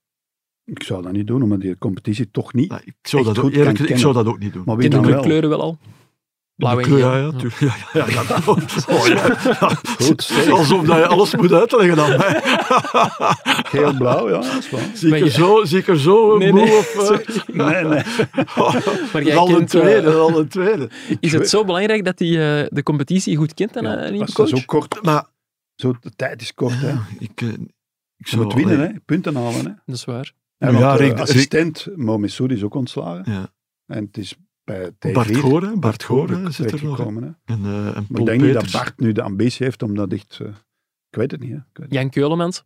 ik zou dat niet doen, omdat die competitie toch niet. Nou, ik, zou Echt dat ook, goed eerlijk kan gezegd, ik kennen. zou dat ook niet doen. Maar wie Ken dan je Ah, de wel? kleuren wel al? Blauw en De kleur, geel. ja, ja, Ja. tuurlijk. ja, [LAUGHS] ja, ja, ja, [LAUGHS] dat- oh, ja, ja. Goed, sterk. Alsof dat je alles moet uitleggen aan mij. Geel-blauw, ja, dat is [LAUGHS] wel. Zie Maar ik er je- zo, zie ik er zo eh, Nee, moe nee, op? eh? sorry. Nee, nee. Oh, Maar dat is jij al een kent, eh, tweede, dat is al een tweede. Is het zo belangrijk dat hij eh, de competitie goed kent, dan, Ja, een dat nieuwe is dat coach? zo kort. Maar Zo, de tijd is kort, hè. ik, eh, ik Ze zou moet winnen, hè. Punten halen, hè. Dat is waar. En Ja, want, eh, Rick- Rick- assistent Momessoud is ook ontslagen. Ja. En het is bij T4. Bart Goor, hè, Bart Goor hè, ook zit er nog. hè. terechtgekomen, hè. En, eh en Maar ik Paul denk niet dat Peters. Bart nu de ambitie heeft om dat echt... eh, ik weet het niet, hè. Ik weet het Jan Keulemans.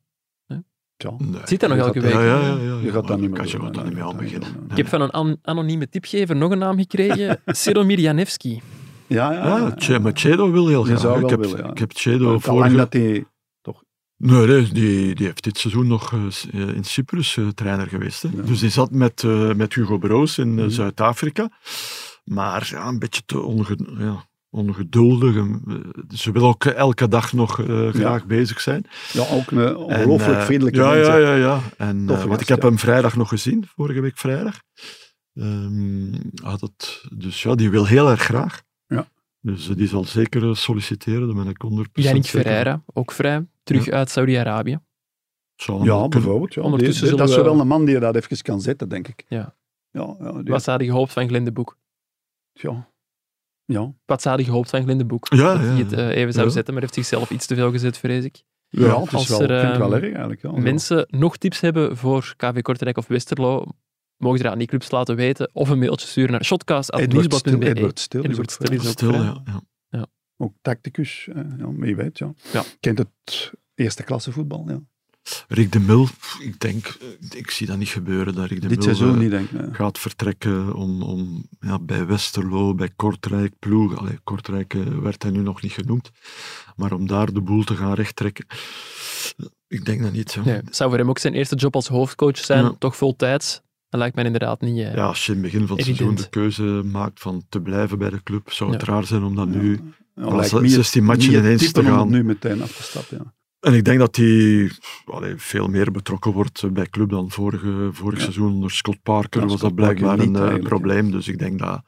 niet. Ja. Nee. Zit daar nog Je elke gaat- week. Ja, ja, ja, ja, Je ja, gaat maar daar niet meer kan je doen, ook hè. dan niet meer Nee, aan nee, beginnen. nee, nee. Ik heb van een an- anonieme tipgever nog een naam gekregen. [LAUGHS] Seromir Janevski. Ja, ja. Ja, Che- maar Chedo wil heel Je graag. zou hè. wel ik, heb, willen, ja. ik heb Het Chedo is al lang vorige... dat hij... Nee, nee, die, die heeft dit seizoen nog eh, s- eh, in Cyprus eh, trainer geweest. Hè. Ja. Dus die zat met, eh, met Hugo Broos in eh, Mhm. Zuid-Afrika. Maar ja, een beetje te onge- ja, ongeduldig. en, eh, Ze wil ook eh, elke dag nog eh, graag bezig zijn. Ja, ook een En, ongelooflijk eh, vriendelijke ja, mens. hè. Ja, ja, ja. En, Toffe eh, want gast, ik heb ja. hem vrijdag nog gezien, vorige week vrijdag. Ehm, had het, dus ja, die wil heel erg graag. Ja. Dus eh, die zal zeker eh, solliciteren, daar ben ik 100% Yannick zeker. Ferreira, ook vrij, terug uit Saudi-Arabië. Het zou Ja, allemaal kunnen. bijvoorbeeld. Ja. Ondertussen Die- die- zullen dat is we- wel een man die dat even kan zetten, denk ik. Ja. Ja, ja, die- Wat zou je gehoopt van Glenn de Boek? ja. ja. Wat zou je gehoopt van Glenn de Boek? Ja, dat ja, hij het ja. eh, even zou Ja. zetten, maar heeft zichzelf iets te veel gezet, vrees ik. Ja, Ja, het als is wel, er, ik vind het wel ehm, erg eigenlijk. Ja, Mensen nog tips hebben voor KV Kortrijk of Westerlo, mogen ze dat aan die clubs laten weten of een mailtje sturen naar Edward Stil, shotcast.nieuwsblad.be. Edward Stil, is Edward ook Stil vrij. is ook Stil, vrij. ja. ja. Ook tacticus, eh, ja, maar je weet, ja. Ja. Kent het eerste klasse voetbal, ja. Rick de Mil, pff, ik denk, eh, ik zie dat niet gebeuren, dat Rick de Dit Mil seizoen eh, niet, denk ik. nee. gaat vertrekken om, om ja, bij Westerlo, bij Kortrijk, ploeg. Allee, Kortrijk eh, werd hij nu nog niet genoemd, maar om daar de boel te gaan rechttrekken, ik denk dat niet. Ja, Nee, het zou voor hem ook zijn eerste job als hoofdcoach zijn, Ja. toch vol tijd. Dat lijkt mij inderdaad niet. eh, ja als je in het begin van het seizoen de Evident. keuze maakt van te blijven bij de club, zou het Ja. raar zijn om dat Ja. nu... Ja, Als lijkt dat me het- 16 matchen niet het ineens type te om gaan. het nu meteen af te stappen, ja. En ik denk dat hij allee, veel meer betrokken wordt eh, bij club dan vorige, vorig Ja. seizoen. Onder Scott Parker Ja, was Scott dat blijkbaar Parker niet een eh, eigenlijk, probleem. Dus ik denk dat,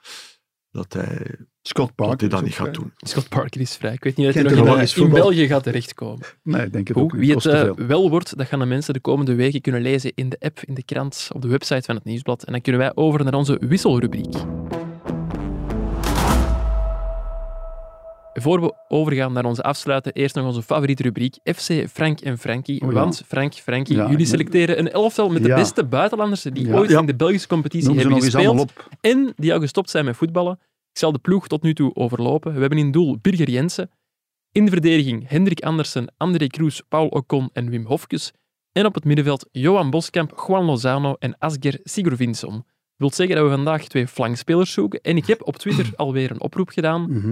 dat, hij, Scott Parker. dat hij is dat ook eh, niet gaat vrij. doen. Scott Parker is vrij. Ik weet niet of hij Kent er nog in, wel Bel- eens in voetbal? België gaat terechtkomen. Nee, ik denk het ook niet. Hoe, wie het Kost te eh, veel. wel wordt, dat gaan de mensen de komende weken kunnen lezen in de app, in de krant, op de website van het Nieuwsblad. En dan kunnen wij over naar onze wisselrubriek. Voor we overgaan naar onze afsluiten, eerst nog onze favoriete rubriek, FC Frank en Frankie. Oh ja. Want Frank, Frankie, Ja, ik jullie ben- selecteren een elftal met de Ja. beste buitenlanders die Ja. ooit Ja. in de Belgische competitie Noem ze hebben nog eens gespeeld allemaal op. en die al gestopt zijn met voetballen. Ik zal de ploeg tot nu toe overlopen. We hebben in doel Birger Jensen. In de verdediging Hendrik Andersen, André Kroes, Paul Ocon en Wim Hofkes. En op het middenveld Johan Boskamp, Juan Lozano en Asger Sigurvinsson. Dat wil zeggen dat we vandaag twee flankspelers zoeken. En ik heb op [CLEARS THROAT] Twitter alweer een oproep gedaan Mhm.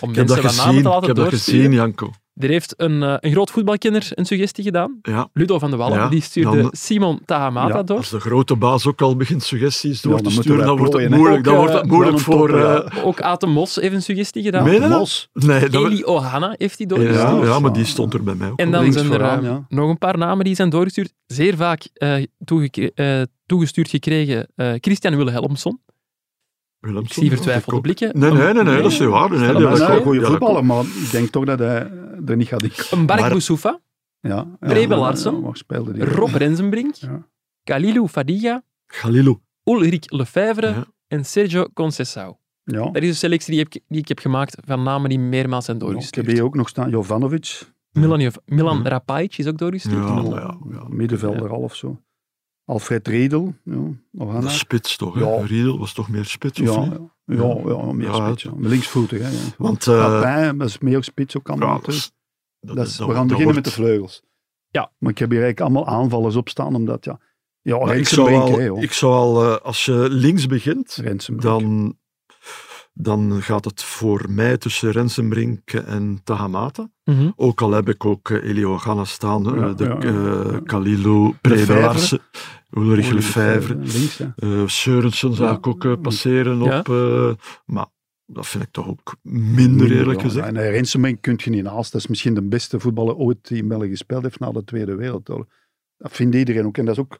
om Ik heb mensen van dat namen gezien, te ik laten heb dat doorsturen. gezien Janko. Er heeft een, eh, een groot voetbalkenner een suggestie gedaan. Ja, Ludo van de Wallen, Ja, die stuurde dan- Simon Tahamata Ja, door. als de grote baas ook al begint suggesties door dan te moeten sturen, wij dan wordt het plooien, hè. moeilijk, dan Ook, wordt het eh, moeilijk dan een voor... topper, eh, Ook Aten Mos heeft een suggestie gedaan. Meen je dat? Mos. Nee, dat Eli Ohana heeft die ja, doorgestuurd. ja, maar die stond er bij mij ook. En op. dan Links zijn er vooraan, eh, ja. nog een paar namen die zijn doorgestuurd. Zeer vaak eh, toegekre- eh, toegestuurd gekregen. eh, Christian Wilhelmsson. Willemsen, Ik zie ja, vertwijfelde ik ook. blikken. Nee, nee, Een- nee, nee, dat is niet waar. Stel Nee, nee, Dat hem dat is maar wel een uit, ook- goede ja, dat ook. voetballer, maar ik denk toch dat hij er niet gaat in. Een Bark Maar- Boussoufa, Ja, ja. Brebe Larsen. Ja, waar speelde die? Rob Rensenbrink, Ja. Khalilou Fadiga, Galilou. Ulrich Lefebvre Ja. en Sergio Conceição. Ja. Dat is een selectie die, heb ik- die ik heb gemaakt van namen die meermaals zijn Ja, Ik heb doorgestuurd. hier ook nog staan, Jovanovic, Milan, Milan Ja. Rapaic is ook doorgestuurd. Ja, Ja, maar ja, ja. middenvelder al of zo. Alfred Riedel, ja, nog Dat aan is spits toch? hè? Ja. Riedel was toch meer spits, ja, of ja, niet? ja, ja, meer Ja, spits. Ja. Linksvoetig, hè. Ja. Want, eh, Papin, dat is meer spits ook allemaal. Ja, natuurlijk. is- dat Dat is- is- dat we gaan wordt- beginnen met dat de vleugels. Ja. Maar ik heb hier eigenlijk allemaal aanvallers op staan, omdat ja... Ja, wordt- Maar ik Rensenbrink, zou al, hè, joh. ik zou al eh, als je links begint, Rensenbrink. dan, dan gaat het voor mij tussen Rensenbrink en Tahamata. Mhm. Ook al heb ik ook eh, Elio Ganna staan, eh, Ja, de, ja, ja, eh, ja. Kalilou, Lefebvre. Prevelarsen, Ulrich Lefebvre. Links, hè. eh Sørensen zou Ja. ik ook eh, passeren Ja. op. eh, maar dat vind ik toch ook minder eerlijk Ja, gezegd. En eh, Rensenbrink kun je niet naast. Dat is misschien de beste voetballer ooit die in België gespeeld heeft na de Tweede Wereldoorlog. Dat vindt iedereen ook. En dat is ook...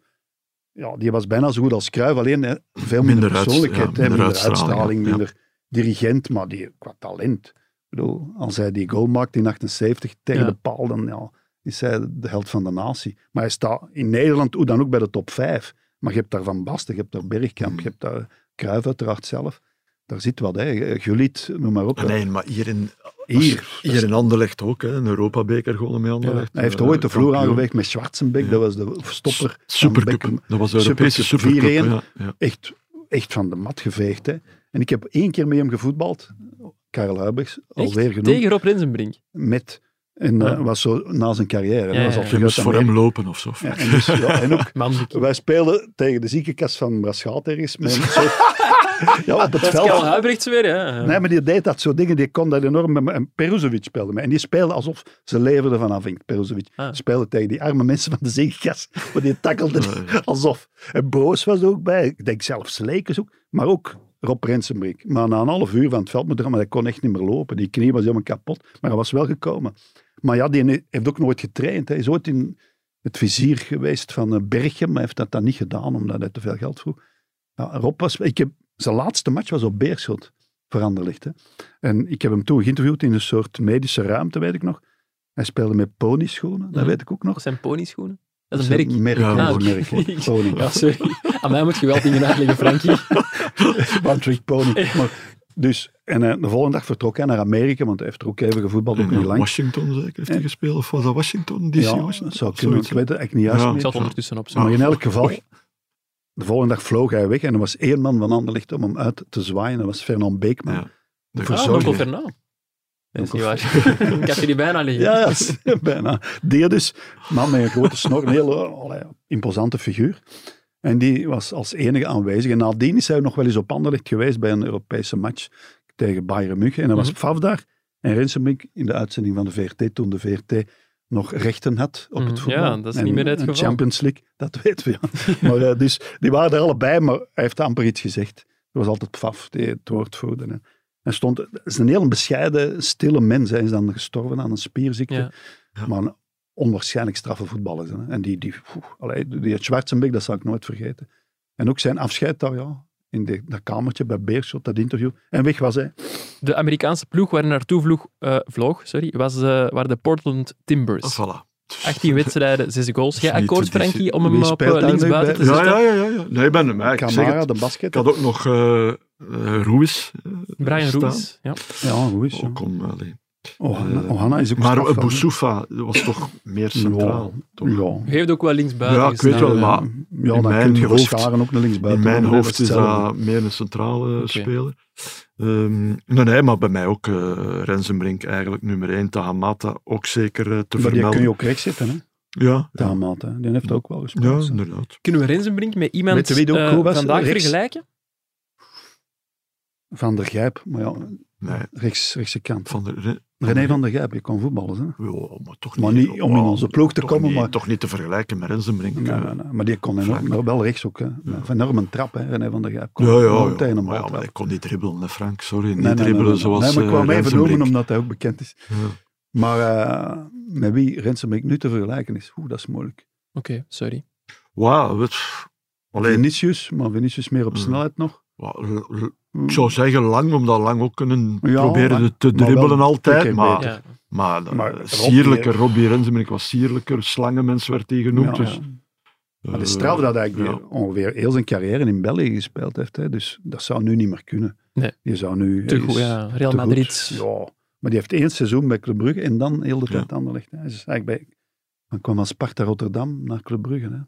Ja, die was bijna zo goed als Cruijff, alleen eh, veel minder, Minder uit- persoonlijkheid, ja, hè, minder minder uitstraling, uitstraling, ja. minder dirigent, maar die, qua talent. Ik bedoel, als hij die goal maakt in 78 tegen Ja. de paal, dan ja, is hij de held van de natie. Maar hij staat in Nederland hoe dan ook bij de top 5. Maar je hebt daar Van Basten, je hebt daar Bergkamp, je hebt daar Cruijff uiteraard zelf. Daar zit wat, hè. Gullit, noem maar op. hè. Ah, Nee, maar hier in, Hier. hier in Anderlecht ook. Hè, een Europa-beker gewonnen met Anderlecht. Hij heeft eh, ooit de vloer kampioen. aangeweegd met Schwarzenbeck, Ja. dat was de stopper. S- Supercup. Beckham. Dat was de Europese Supercup, Supercup. Ja, ja. Echt, echt van de mat geveegd. Hè. En ik heb één keer met hem gevoetbald, Karel Huibers, Echt? alweer genoemd, Tegen Rob Rensenbrink. met... En eh, Ja. was zo na zijn carrière. hè. Ja, was ja, al ja. Je moest voor Groot-Amerika. hem lopen of zo. Ja, en, dus, ja, en ook, Man, wij speelden tegen de ziekenkast van Braschaat ergens. Met [LAUGHS] een soort, ja, op het dat is Karel veld. Huibrechts weer. Ja. Nee, maar die deed dat soort dingen, die kon dat enorm. met me- En Peruzovic speelde mee. En die speelde alsof ze leverden vanaf Vink. Peruzovic Ah. speelde tegen die arme mensen van de ziekenkast. Maar die tackelde die Ja, ja. alsof. En Broos was er ook bij. Ik denk zelfs Lekers ook. Maar ook Rob Rensenbrink. Maar na een half uur van het veld moet er, maar hij kon echt niet meer lopen. Die knie was helemaal kapot. Maar hij was wel gekomen. Maar ja, die heeft ook nooit getraind. Hij is ooit in het vizier geweest van eh, Berchem, maar heeft dat dan Nou, niet gedaan, omdat hij te veel geld vroeg. Ja, Rob was... Ik heb, zijn laatste match was op Beerschot. Veranderlicht. Hè. En ik heb hem toen geïnterviewd in een soort medische ruimte, weet ik nog. Hij speelde met ponyschoenen, dat Mhm. weet ik ook nog. Dat zijn ponyschoenen. Dat is Dat een merk. merk. Ja, dat oké. is een merk. hè. Pony. [LAUGHS] Ja, sorry. Aan mij moet je wel dingen [LAUGHS] uitleggen, Frankie. One trick pony. Maar, dus, en eh, de volgende dag vertrok hij naar Amerika, want hij heeft er ook even gevoetbald, ook In niet lang. Washington zeker heeft hij En- gespeeld. Of was dat Washington DC? Ja, Washington? dat zou kunnen, want ik weet het eigenlijk niet juist Ja. meer. Ik zal het ondertussen opzoeken. Maar in elk geval, Oei. de volgende dag vloog hij weg en er was één man van Anderlecht om hem uit te zwaaien. Dat was Fernand Beekman. Ja. De Ah, verzorging. Nonkel verzorger. Fernand. Dat is niet waar. [LAUGHS] Ik had jullie bijna liggen. Dus Ja, ja, [LAUGHS] bijna. Die dus, man met een grote snor, een hele eh, allee, imposante figuur. En die was als enige aanwezig. En nadien is hij nog wel eens op Anderlecht geweest bij een Europese match tegen Bayern München. En dan was Mhm. Faf daar. En Rensenbrink in de uitzending van de VRT, toen de VRT nog rechten had op Mhm, het voetbal. ja, dat is En- niet meer het en geval. Champions League, dat weten we. Ja. [LAUGHS] maar, eh, dus die waren er allebei, maar hij heeft amper iets gezegd. Dat was altijd Faf die het woord voerde. hè. Hij stond, het is een heel bescheiden, stille mens. Hij is dan gestorven aan een spierziekte. Ja. Ja. Maar een onwaarschijnlijk straffe voetballer. Hè. En die, die, oeh, allee, die, die Schwarzenbeck, dat zal ik nooit vergeten. En ook zijn afscheid daar, ja, in de, dat kamertje bij Beerschot, dat interview. En weg was hij. De Amerikaanse ploeg waar hij naartoe vloog, eh, vloog sorry, was, eh waren de Portland Timbers. Ah, voilà. 18 wedstrijden, 6 goals. is Jij niet akkoord, te dis- Frankie, om Wie hem op speelt eh, daar nu linksbuiten bij? te Dus Ja, zetten? ja, ja, ja, ja. Nee, ik ben hem. hè. Ik, zeg Camara, het. de ik basket. had ook nog eh eh, Ruiz. eh, Brian staan. Ruiz. Ja. Ja, hoe is Ook om, allee. Ohana, Oh, eh, Ohana is ook Maar straf, eh, hè. Boussoufa was toch meer centraal. toch? Ja. U heeft ook wel linksbuiten Ja, ik weet gestaan. wel, maar ja, dan mijn kun je hoofd- verscharen ook naar linksbuiten. In mijn maar hoofd is hetzelfde. dat meer een centrale Oké. speler. Ehm, nee, nee, maar bij mij ook eh Rensenbrink eigenlijk nummer 1. Tahamata ook zeker eh, te Maar die kun vermelden. je ook rechts zetten, hè? Ja, ja, Tamaat, hè? Die heeft ook wel ja, gespeeld. hè. inderdaad. Kunnen we Rensenbrink met iemand Weet je wie die ook eh, goed was? vandaag Rechts. vergelijken? Van der Gijp, maar ja, Nee, rechts, rechtse kant. van de, Re- René van der Gijp, je kon voetballen, hè? Ja, maar toch Maar niet, oh, niet om in onze ploeg te toch komen, niet- maar- Toch niet te vergelijken met Rensenbrink. Nee, eh. nee, nee. Maar die kon enorm, Frank. maar wel rechts ook. Hè. Van enorm trap, hè. René van der Gijp. Kon Ja, ja, enorm ja. tegen een Maar bal ja, maar trappen. ik kon niet dribbelen, hè, Frank. Sorry, niet Nee, nee, nee, dribbelen nee, nee. zoals Nee, maar ik eh, kwam even Rensenbrink. noemen omdat hij ook bekend is. Ja. Maar eh, met wie Rensenbeek nu te vergelijken is, oeh, dat is moeilijk. Oké, sorry. Wauw, het- alleen, Vinicius, maar Vinicius meer op Hmm. snelheid nog. wauw, l- l- Hmm. ik zou zeggen lang, omdat lang ook kunnen Ja, proberen maar- te maar wel dribbelen altijd. keer Maar, Ja. maar, eh, Maar Robbie, sierlijker, Robbie Rensenbrink was sierlijker, slangenmens werd hij genoemd. Ja, dus, ja. Maar de eh, straf dat hij ja. ongeveer heel zijn carrière in België gespeeld heeft, hè. dus dat zou nu niet meer kunnen. Nee. Je zou nu... Te hij goed, is ja. Real te goed. Madrid. Ja, maar die heeft één seizoen bij Club Brugge en dan heel de tijd Anderlecht. Hij is eigenlijk bij... Hij kwam van Sparta Rotterdam naar Club Brugge. Hè.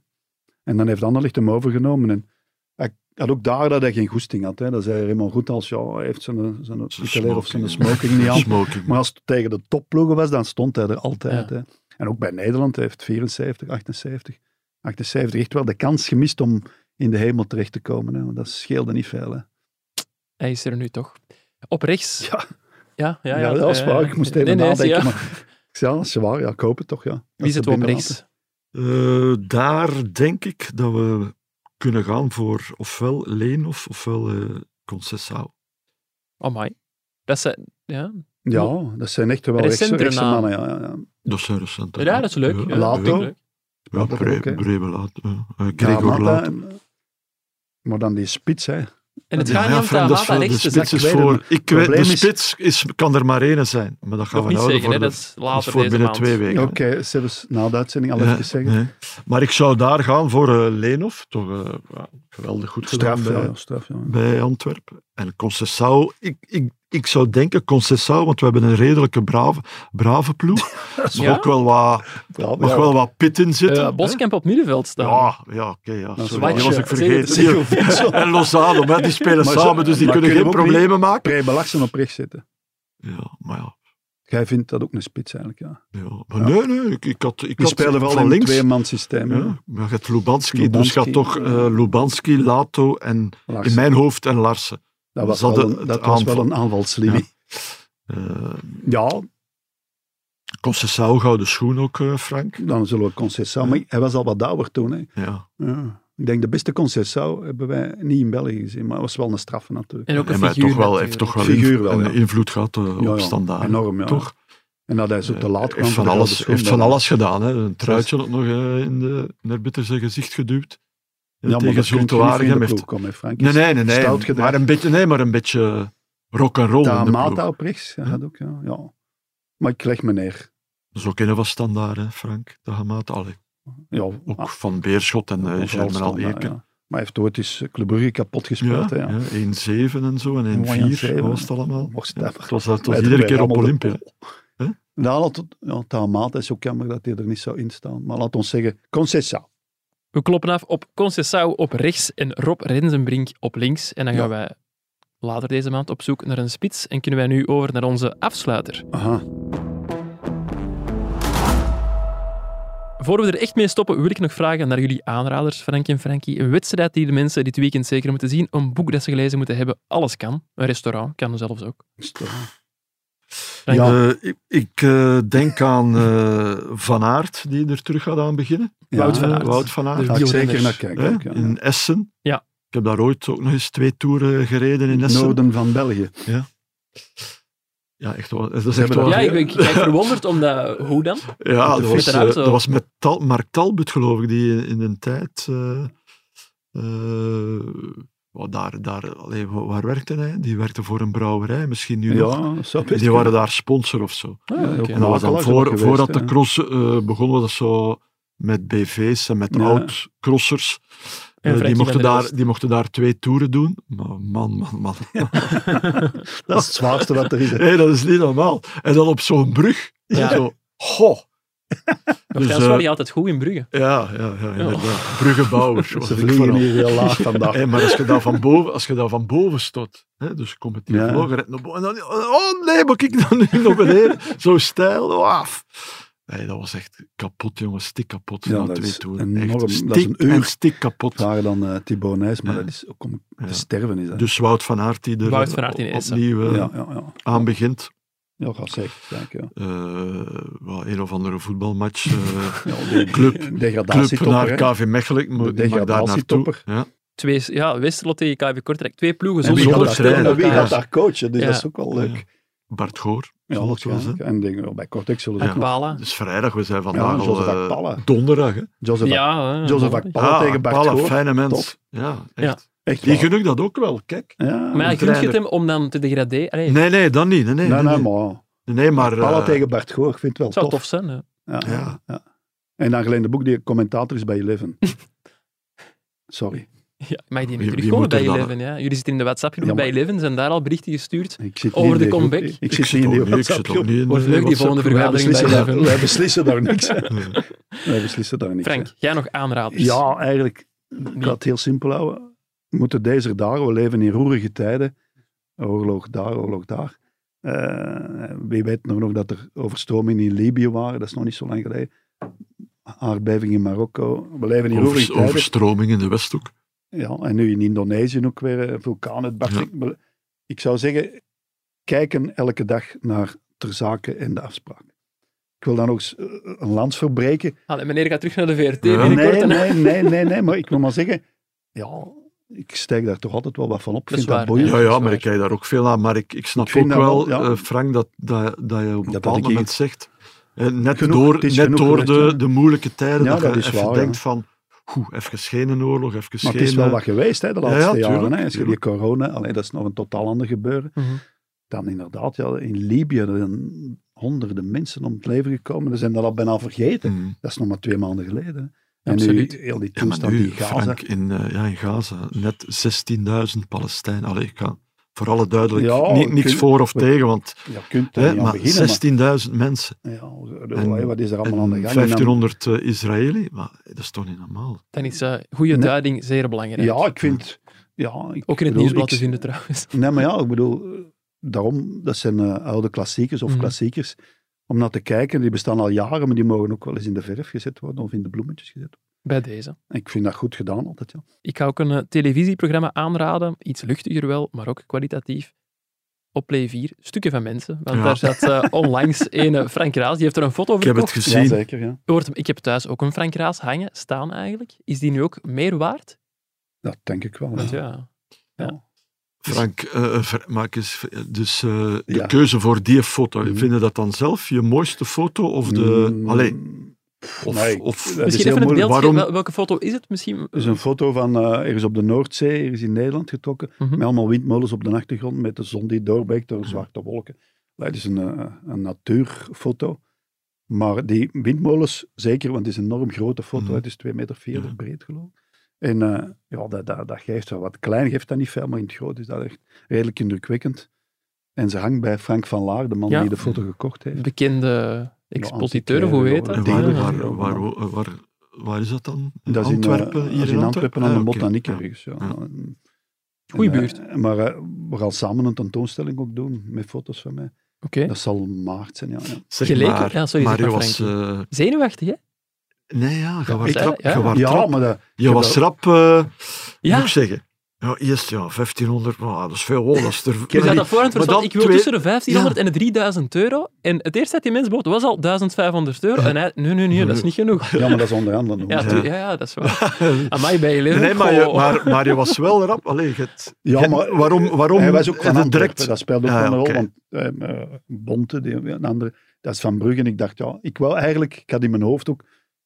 En dan heeft Anderlecht hem overgenomen. En hij had ook daar dat hij geen goesting had. Hè. Dan zei Raymond goed als ja, hij heeft zijn, zijn Zijn pistoleer of zijn smoking. smoking [LAUGHS] [LAUGHS] niet aan. Smoking. Maar als het tegen de topploegen was, dan stond hij er altijd. Ja. Hè. En ook bij Nederland, hij heeft 74, 78, 78 echt wel de kans gemist om in de hemel terecht te komen. Hè. Want dat scheelde niet veel. Hè. Hij is er nu toch. Op rechts. [LAUGHS] Ja. Ja, ja, Ja, ja, dat is eh, waar. Ik moest even nee, nee, nadenken. ja. Maar, ik zei, ja, dat is waar. Ja, ik hoop het toch, ja. Wie zit op niks? rechts? Eh, daar denk ik dat we kunnen gaan voor ofwel Leen of ofwel eh Concessao. Oh my. Dat zijn, ja. Ja, dat zijn echt wel rechtse, Recentere rechtse namen. mannen. Ja, ja, ja. Dat zijn recente. ja, dat is leuk. Ja, Lato. dat is leuk. Ja, dat Bre- ook, hè. Brebe Lato. Eh, Ja, Gregor maar, Lato. eh, maar dan die spits, hè. En het Ja, gaat ja, niet om Frank, dat is Tamata voor- dus de rechts te spits zakken. ik weet het is voor... niet. Ik weet, de probleem is- spits is, kan er maar één zijn, maar dat gaan Nog we niet houden zeggen, voor, hè, de- dat is dat is later voor deze binnen maand. twee weken. Oké, zelfs na de uitzending al Ja, even zeggen. nee. Maar ik zou daar gaan voor eh Leenhoff. Toch eh, ja, geweldig goed gedaan Straf, ja, bij, ja, straf, ja. bij Antwerpen. En Concessao, ik, ik, ik zou denken Concessao, want we hebben een redelijke brave, brave ploeg. [LAUGHS] Maar Ja? ook wel wat, Braaf, mag ja. wel wat pit in zitten. Eh, hè. Boskamp op middenveld staan. Ja, ja oké. ja. Dat is Sorry, die waar. was ik Zeg vergeten. Zeg, of niet zo. Die- en Lozano, hè, die spelen Maar zo- samen, dus die maar kunnen geen kunnen we ook problemen maken. Prijbelaksen op rechts zitten. Ja, maar ja. Jij vindt dat ook een spits eigenlijk, ja. ja. Maar nee, nee, ik, ik had, ik Die had spelen wel van in een links. twee-man systeem. hè. Ja, maar je hebt Lubanski, dus Lubanski. gaat toch eh Lubanski, Lato en Larsen. in mijn hoofd en Larsen. dat was, ze hadden wel een, dat het was wel aanval. een aanvalslinie. Eh Ja, Concessao, gouden schoen ook, eh, Frank. dan zullen we Concessao... Maar hij was al wat ouder toen, hè. Ja. Ja. Ik denk de beste Concessao hebben wij niet in België gezien, maar het was wel een straffe natuurlijk. En ook een En maar figuur. toch wel, natuurlijk. heeft toch wel, Figuur inv- wel, een ja. invloed gehad eh, Ja, op ja, standaard. enorm, ja. Toch? En dat hij zo te laat Eh, kwam. heeft van, de gouden alles, schoen, heeft van dat- alles gedaan. Hè. Een truitje ook nog eh, in, de, in haar bitter zijn gezicht geduwd. Eh, Ja, maar tegen dat zo'n komt niet van in Waregem de heeft ploeg komen, hè, Frank. Nee, nee, nee. Stout nee. gedrag. Maar een beetje, nee, maar een beetje rock and roll. in de Mata ploeg. op rechts, dat had ook, ja. ja. Maar ik leg me neer. Zo kennen we standaard, hè, Frank. De Hamata. Allee, Ja, ook ah, van Beerschot en overal eh Germinal standaard, ja. Eken. Maar hij heeft ooit eens eh, Club Brugge kapot Ja, gespeeld. hè, ja, Ja, 1-7 en zo en 1-4 1-7, was het allemaal. Mocht Ja, stemmen. het was, het Bij was de- iedere bij keer op Rammel de Olympia. Pol. Ja, laat, ja, Tamata is ook jammer dat hij er niet zou instaan. Maar laat ons zeggen, Concessa. We kloppen af op Concessao op rechts en Rob Rensenbrink op links. En dan gaan Ja. wij later deze maand op zoek naar een spits. En kunnen wij nu over naar onze afsluiter. Aha. Voor we er echt mee stoppen, wil ik nog vragen naar jullie aanraders, Frank en Frankie. Een wedstrijd die de mensen dit weekend zeker moeten zien. Een boek dat ze gelezen moeten hebben. Alles kan. Een restaurant kan zelfs ook. is toch- Frank, Ja. Eh, ik ik eh, denk aan eh, Van Aert, die er terug gaat aan beginnen. Ja, Wout van Eh, Aert. Wout van Aert. Daar ga ik zeker naar kijken. Hè, ook, ja. in Essen. Ja. Ik heb daar ooit ook nog eens twee toeren gereden in Essen. Noorden van België. Ja, echt wel. Dat is Ze echt hebben wel. Ja, dat- ik, ik kijk verwonderd om dat... Hoe dan? Ja, met de dat fiets was, eh, en auto. dat was met Tal, Mark Talbot, geloof ik, die in, in een tijd... eh, eh, wat daar, daar, allee, wa- waar werkte hij? Die werkte voor een brouwerij, misschien nu nog. Ja, zo En die waren daar sponsor of zo. Ah, Ja, oké. En dat was dan Makelaar voor, geweest, voordat de hè. cross eh, begon, was dat zo met BV's en met Ja. oud-crossers. Eh, die, Frankie mochten van der daar, Elst. die mochten daar twee toeren doen. Maar man, man, [LAUGHS] man. Dat is het zwaarste dat er is. [LAUGHS] hè. Hé, dat is niet normaal. En dan op zo'n brug. Ja. Zo, goh. Dus, Dus, Frans eh, was die altijd goed in Brugge. Ja, ja, ja inderdaad. Bruggenbouwers. was Ze ik vliegen vooral. hier heel [LAUGHS] laag vandaag. Hé, Eh, maar als je daar van boven, als je daar van boven stot, hè, dus je komt met die Ja. vlogger en naar boven, en dan, oh nee, moet ik dan nu [LAUGHS] naar beneden? Zo stijl, oh, af. Nee, dat was echt kapot, jongen, stik kapot. Ja, na dat twee is toeren. enorm. Dat Echt is stik een uur. en stik kapot. Daar dan eh Thibaut Nijs, maar Ja. dat is ook om Ja. te sterven. Is dat. Dus Wout van Aert die er Wout van Aert in eh, Essen. opnieuw eh, eh, ja, ja, ja. aan begint. Ja, ga zeker. Dank je. Eh, wel, een of andere [LAUGHS] voetbalmatch. eh, Ja, die- die Club- club degradatietopper, naar hè. KV Mechelen, ik moet- De ik mag daar naartoe. degradatietopper. Ja. Twee, ja, Westerlo tegen KV Kortrijk. Twee ploegen En zonder wie, gaat zonder daar, onderscheid trainer. en wie elkaar. gaat daar coachen? Dus Ja. dat is ook wel leuk. Bart Goor. Ja, zal het wel waarschijnlijk. zijn. En denk, wel, bij Kortrijk zullen ze Ja. ook nog... Akpala. Het is vrijdag, we zijn Ja, vandaag al Joseph eh, Akpala. donderdag. Hè? Joseph, Ak- Ja, eh, Joseph Malmö. Akpala tegen Bart Akpala, Goor. Ah, fijne mens. Top. Ja, Ja. echt. Echt Die waar. gun ik dat ook wel, kijk. Ja. Maar ja, Een gunt je het trainer. hem om dan te degraderen? Allee, Nee, nee, dan niet. Nee, nee, nee, nee, nee, nee. maar... Nee, maar... Akpala eh, tegen Bart Goor, ik vind het het zou wel tof. tof, zijn. hè. Ja. Ja. ja. En dan Glenn de Boek, die commentator is bij Eleven. Sorry. Ja, mag die Wie- niet wie terugkomen moet er bij dan- Eleven? Ja? Jullie zitten in de WhatsApp-groep Ja, maar- bij Eleven, zijn daar al berichten gestuurd. Ik zit Over niet in de die groep. comeback? Ik Ik zit zit niet in ook die niet- ik zit ook WhatsApp-groep. niet in Wordt de leuk, die WhatsApp-groep. volgende Wij vergadering bij beslissen, daar, Eleven. wij beslissen daar [LAUGHS] niks. hè. Ja. Wij beslissen daar niks. Frank, jij nog hè. aanraders? Ja, eigenlijk, ik Nee. ga het heel simpel houden. We moeten deze dagen, we leven in roerige tijden. Oorlog daar, oorlog daar. Eh, wie weet nog, nog dat er overstromingen in Libië waren, dat is nog niet zo lang geleden. Aardbeving in Marokko. We leven in roerige Overs- tijden. overstroming in de Westhoek. Ja, en nu in Indonesië ook weer eh, vulkaanuitbarsting. Ik zou zeggen, kijken elke dag naar ter zake en de afspraak. Ik wil dan nog eens eh, een lans verbreken. Allee, meneer gaat terug naar de VRT Ja. Nee, binnenkort. nee, en- nee, nee, nee, maar ik wil maar zeggen, ja, ik stijg daar toch altijd wel wat van op. Ik Dat is vind dat waar, boeiend. Ja, dat is ja, maar waar. ik kijk daar ook veel aan. Maar ik, ik snap Ik vind ook dat wel, wel, ja. eh, Frank, dat, dat, dat je op een Dat bepaald ik moment hier- zegt... eh, net Genoeg, door, het is net genoeg door geweest, de, hè. de moeilijke tijden, Ja, dat, dat je is even waar, denkt van... Goed, even geen oorlog, even Maar geen... het is wel eh, wat geweest hè, de Ja, ja, laatste jaren. tuurlijk, Hè. Als je die tuurlijk. corona, alleen dat is nog een totaal ander gebeuren. Mhm. Dan inderdaad, ja, in Libië er zijn honderden mensen om het leven gekomen. Ze zijn dat al bijna vergeten. mm. Dat is nog maar twee maanden geleden. hè. En Absoluut. nu heel die Ja, maar toestand nu, in Gaza. Frank, in, eh, ja, in Gaza, net 16.000 Palestijnen. Allee, ik ga voor alle duidelijk Ja, ni- niks kun- voor of tegen, want Ja, je kunt er hè, niet aan maar beginnen. 16.000 mensen Maar, ja, de- En- wat is er en allemaal aan de gang? En dan- 1500 eh, Israëli, maar dat is toch niet normaal? Dan is eh goede Nee. duiding zeer belangrijk. ja, ik vind... Ja, ik Ook in het bedoel, nieuwsblad ik- te vinden trouwens. [LAUGHS] Nee, maar ja, ik bedoel... eh, Daarom, dat zijn eh, oude klassiekers of Mhm. klassiekers. Om naar te kijken, die bestaan al jaren, maar die mogen ook wel eens in de verf gezet worden of in de bloemetjes gezet worden. Bij deze. En ik vind dat goed gedaan altijd, ja. Ik ga ook een eh, televisieprogramma aanraden. Iets luchtiger wel, maar ook kwalitatief. Op Play 4, Stukken van Mensen. Want Ja. daar zat [LAUGHS] eh, onlangs een eh, Frank Raas, die heeft er een foto Ik over heb het gekocht. Ja, gezien. zeker, ja. Je hoort hem, ik heb thuis ook een Frank Raas hangen, staan eigenlijk. Is die nu ook meer waard? Dat denk ik wel. Want ja. ja, Frank, eh, ver- maak eens, dus eh, de Ja. keuze voor die foto. Mhm. Vind je dat dan zelf je mooiste foto? Of de, Mm, allee, Of, Nee, of dat is Misschien heel even het beeld moeilijk. waarom- wel- Welke foto is het misschien? Er is een foto van eh, ergens op de Noordzee, ergens in Nederland getrokken, Mhm. met allemaal windmolens op de achtergrond, met de zon die doorbreekt door zwarte wolken. Dat is een, eh, een natuurfoto. Maar die windmolens, zeker, want het is een enorm grote foto, Mhm. het is 2,40 meter Ja. breed geloof ik. En eh, ja, dat, dat, dat geeft wel wat. Klein geeft dat niet veel, maar in het groot is dat echt redelijk indrukwekkend. En ze hangt bij Frank van Laar, de man Ja. die de foto gekocht heeft. Bekende expositeur, antiquaire, hoe heet ja. dat? En Dingen, waar, ja. waar, waar, waar, waar, waar is dat dan? In Dat is in, eh, Antwerpen? dat is hier in Antwerpen aan de Ah, oké. Botaniek Ja. ergens. Ja. Ja. En, Goeie eh, buurt. maar eh, we gaan samen een tentoonstelling ook doen met foto's van mij. Oké. Dat zal maart zijn, ja. ja. Zeg Geleken? maar, Ja, sorry, zeg maar je maar, was... eh, Zenuwachtig, hè? nee, ja, je was ik- rap. ja. Je, was Ja, rap. maar dat, je was rap, eh, Ja. moet ik zeggen. Ja, eerst ja, 1500, maar dat is veel. hoor, Dat is er, Je Nee, zat dat voor aan het maar verstand, dan ik wil twee- tussen de 1500 en de 3000 euro. En het eerste dat die mens bood was al 1500 euro. En hij, nee, nee, nee, dat is niet genoeg. ja, maar dat is onder andere nog. Ja, Ja, tu- ja, ja, dat is [LAUGHS] waar. Amai, bij je leven. Nee, maar je, Goh. maar, maar je was wel rap. Allee, je hebt- je- maar waarom, waarom hij was ook van eh, Antwerpen, direct? dat speelde ook Ah, Ja, wel een rol. oké. Want eh, eh, Bonte, die, een andere, dat is Van Brugge. En ik dacht, ja, ik wil eigenlijk, ik had in mijn hoofd ook,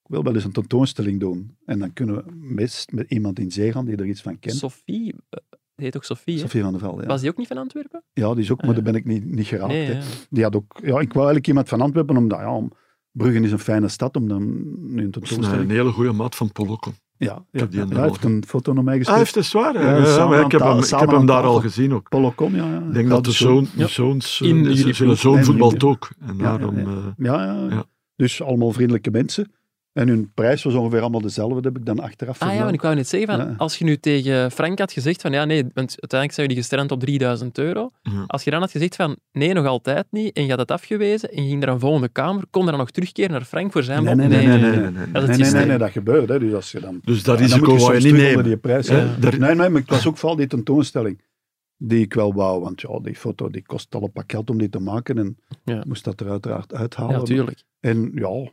ik wil wel eens een tentoonstelling doen. En dan kunnen we best met iemand in zee gaan die er iets van kent. Sophie, eh, die heet ook Sophie, hè? Sophie van der Velde, ja. Was die ook niet van Antwerpen? Ja, die is ook, Ah, maar ja. daar ben ik niet, niet geraakt. Nee, hè. ja. Die had ook, ja, ik wou eigenlijk iemand van Antwerpen, omdat ja, om- Brugge is een fijne stad om dan nu een Dat is een, tentoonstelling. een hele goede maat van Polokko. Ja, ja, heb die ja, in de hij heeft ogen. een foto naar mij Hij gestuurd. heeft het zwaar. Ja, Ja, samen maar aan ik heb ta- hem, ik samen heb hem aan daar tafel. al gezien ook. Polocom, ja. dus ja. Ik denk Ja, dat de zoon, de Ja. zoons, In eh, jullie ze- ploeg. zijn zoon En voetbalt jullie- ook. En Ja, ja, daarom... ja. eh, Ja, ja. Ja. Dus allemaal vriendelijke mensen. En hun prijs was ongeveer allemaal dezelfde, dat heb ik dan achteraf Ah ja, want vernomen. ik wou net zeggen, van, Ja. als je nu tegen Frank had gezegd van ja, nee, want uiteindelijk zijn jullie gestrand op 3000 euro. Ja. Als je dan had gezegd van nee, nog altijd niet, en je had het afgewezen, en je ging naar een volgende kamer, kon je dan nog terugkeren naar Frank voor zijn Nee, nee, bod? nee, nee, nee. Dat is Nee, het nee, nee, systeem. nee, dat gebeurt. Hè. Dus als je dan, Dus dat Ja, dan risico moet wou je soms niet terug onder nemen. Die prijs, Ja, hè. daar- Nee, nee, maar het was ook vooral die tentoonstelling die ik wel wou. Want ja, die foto die kost al een pak geld om die te maken. En Ja. moest dat er uiteraard uithalen. Ja, tuurlijk. En ja,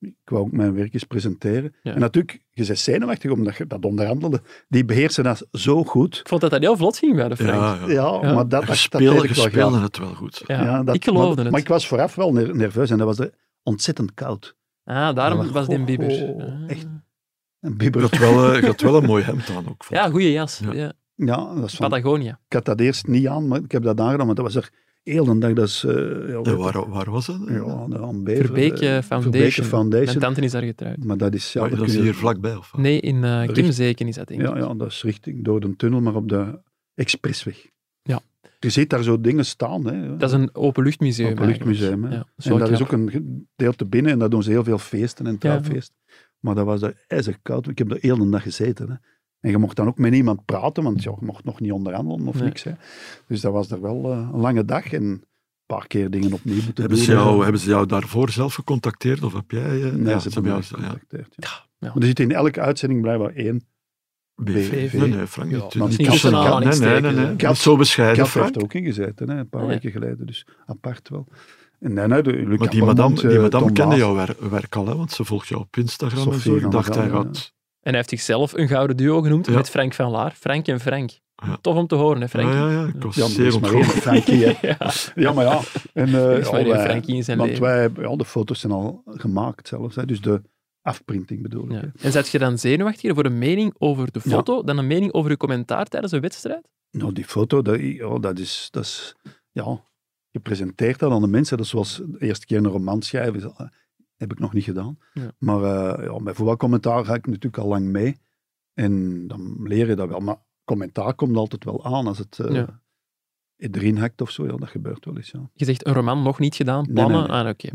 ik wou ook mijn werk eens presenteren. Ja. En natuurlijk, je bent zenuwachtig omdat je dat onderhandelde. Die beheersen dat zo goed. Ik vond dat dat heel vlot ging bij de Frank. Ja, Ja, maar ja. dat, Je dat, dat speelde- deed je ik wel graag. speelde het wel goed. Ja, dat- ik geloofde maar, het. Maar ik was vooraf wel ner- nerveus en dat was er ontzettend koud. Ah, daarom Maar was Oh, goh, Den Bieber. goh, Ah. echt. [LAUGHS] En Je Bieber, had wel, eh, je had wel een mooi hemd aan ook. vond ik. Ja, goede jas. Ja. Ja. ja, dat is van, Patagonia. ik had dat eerst niet aan, maar ik heb dat aangedaan, want dat was er heel de dag. Dat is, eh, ja, Ja, waar, waar was dat? ja, de Ambever, Verbeek eh, eh, Foundation. Verbeke Mijn Foundation. tante is daar getrouwd. Maar dat is... Ja, Maar dat dat is kun je- hier vlakbij of wat? Nee, in eh Richt- Kimzeken is dat denk ik. ja, ja, dat is richting door de tunnel, maar op de expressweg. Ja. Je ziet daar zo dingen staan. Hè. Dat is een openluchtmuseum. Openluchtmuseum, eigenlijk. hè. Ja, en daar is ook een gedeelte binnen en daar doen ze heel veel feesten en trouwfeesten. Maar dat was daar ijzig koud. Ik heb er heel de dag gezeten. Hè. En je mocht dan ook met niemand praten, want ja, je mocht nog niet onderhandelen of Nee. niks. Hè. Dus dat was daar wel eh, een lange dag en een paar keer dingen opnieuw moeten Hebben ze, doen. jou, hebben ze jou daarvoor zelf gecontacteerd? Of heb jij... eh, Nee, ja, ze ze hebben hebben mij jou... Ja, gecontacteerd. Ja. ja. Maar er zit in elke uitzending blijkbaar één. BV. BV. Nee, nee, Frank Ja, niet. maar Niet die tussen- katten aan Nee, niet nee, nee. steken, nee. hè. Niet zo bescheiden, Kat Frank. heeft er ook in gezeten, hè, een paar Ah, Ja. weken geleden. Dus apart wel. En nee, nee, de, Luc Maar die Appermond, madame, die eh, madame Tom kende Baas. jouw wer- werk al, hè, want ze volgt jou op Instagram en Sophie zo. Ik van dacht, der hij Velde, gaat... En hij heeft zichzelf een gouden duo genoemd Ja. met Frank van Laar. Frank en Frank. Ja. Tof om te horen, hè, Ja, Frank? [LAUGHS] ja, ja, ik was Ja, maar er zeer is maar één ontgoocheld. Frankie, hè. Ja, maar ja. [LAUGHS] En, eh, Er is maar ja, één wij- Frankie in zijn want leven. wij, hebben- ja, de foto's zijn al gemaakt zelfs. Hè, dus de afprinting bedoel ik. Ja. hè. En zet je dan zenuwachtiger voor een mening over de Ja. foto dan een mening over je commentaar tijdens een wedstrijd? Nou, die foto, dat, ja, dat is... Dat is ja, je presenteert dat aan de mensen. Dat is zoals de eerste keer een roman schrijven. is al- eh, Heb ik nog niet gedaan. Ja. Maar eh ja, bij voetbalcommentaar ga ik natuurlijk al lang mee. En dan leer je dat wel. Maar commentaar komt altijd wel aan als het... eh, Ja. erin hakt of zo, ja, dat gebeurt wel eens. Ja. Je zegt een roman nog niet gedaan, Nee, plannen. nee, Ah, oké.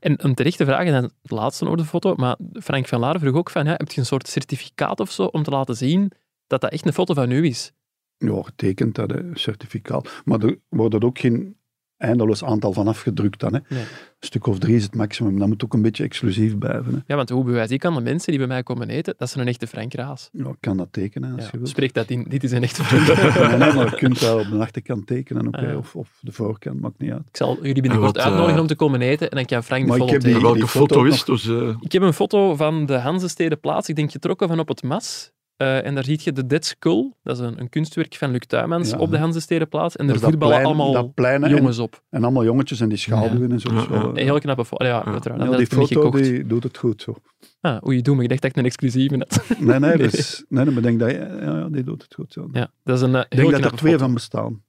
En een terechte vraag, en dan het laatste over de foto, maar Frank van Laar vroeg ook van, ja, heb je een soort certificaat of zo om te laten zien dat dat echt een foto van u is? Ja, getekend, dat eh, certificaat. Maar er wordt er ook geen eindeloos aantal van afgedrukt dan. Hè. Nee. Een stuk of drie is het maximum. Dat moet ook een beetje exclusief blijven. Hè. Ja, want hoe bewijs ik aan de mensen die bij mij komen eten dat ze een echte Frank Raas? Ja, ik kan dat tekenen als Ja, je wilt. spreek dat in, dit is een echte Frank. [LAUGHS] Nee, nee, maar je kunt dat op de achterkant tekenen ook, hè, Ah, ja. of, of de voorkant, maakt niet uit. Ik zal jullie binnenkort En wat, uitnodigen eh, om te komen eten en dan kan Frank de Maar ik volle heb thee. die- Welke foto foto ook is nog- het? Dus, eh, Ik heb een foto van de Hanzestedenplaats, ik denk getrokken van op het mas. Eh, en daar zie je de Dead Skull, dat is een, een kunstwerk van Luc Tuymans, Ja. op de Hanzestedenplaats. En Dus Dat er is dat voetballen plein- allemaal dat plein en- jongens op. En allemaal jongetjes en die schaduwen en zo. Ja, zo. ja. Een heel knappe foto. Ja, Ja. uiteraard. Ja, dat Ah, die heb ik niet foto gekocht. die doet het goed zo. Ah, oei, doe me. Ik dacht dat ik een exclusieve had. Nee, nee, dus, nee, nee, maar denk dat, ja, ja, die doet het goed zo. [LAUGHS] Ja, dat is een eh, Ik denk heel dat er knappe twee foto. van bestaan.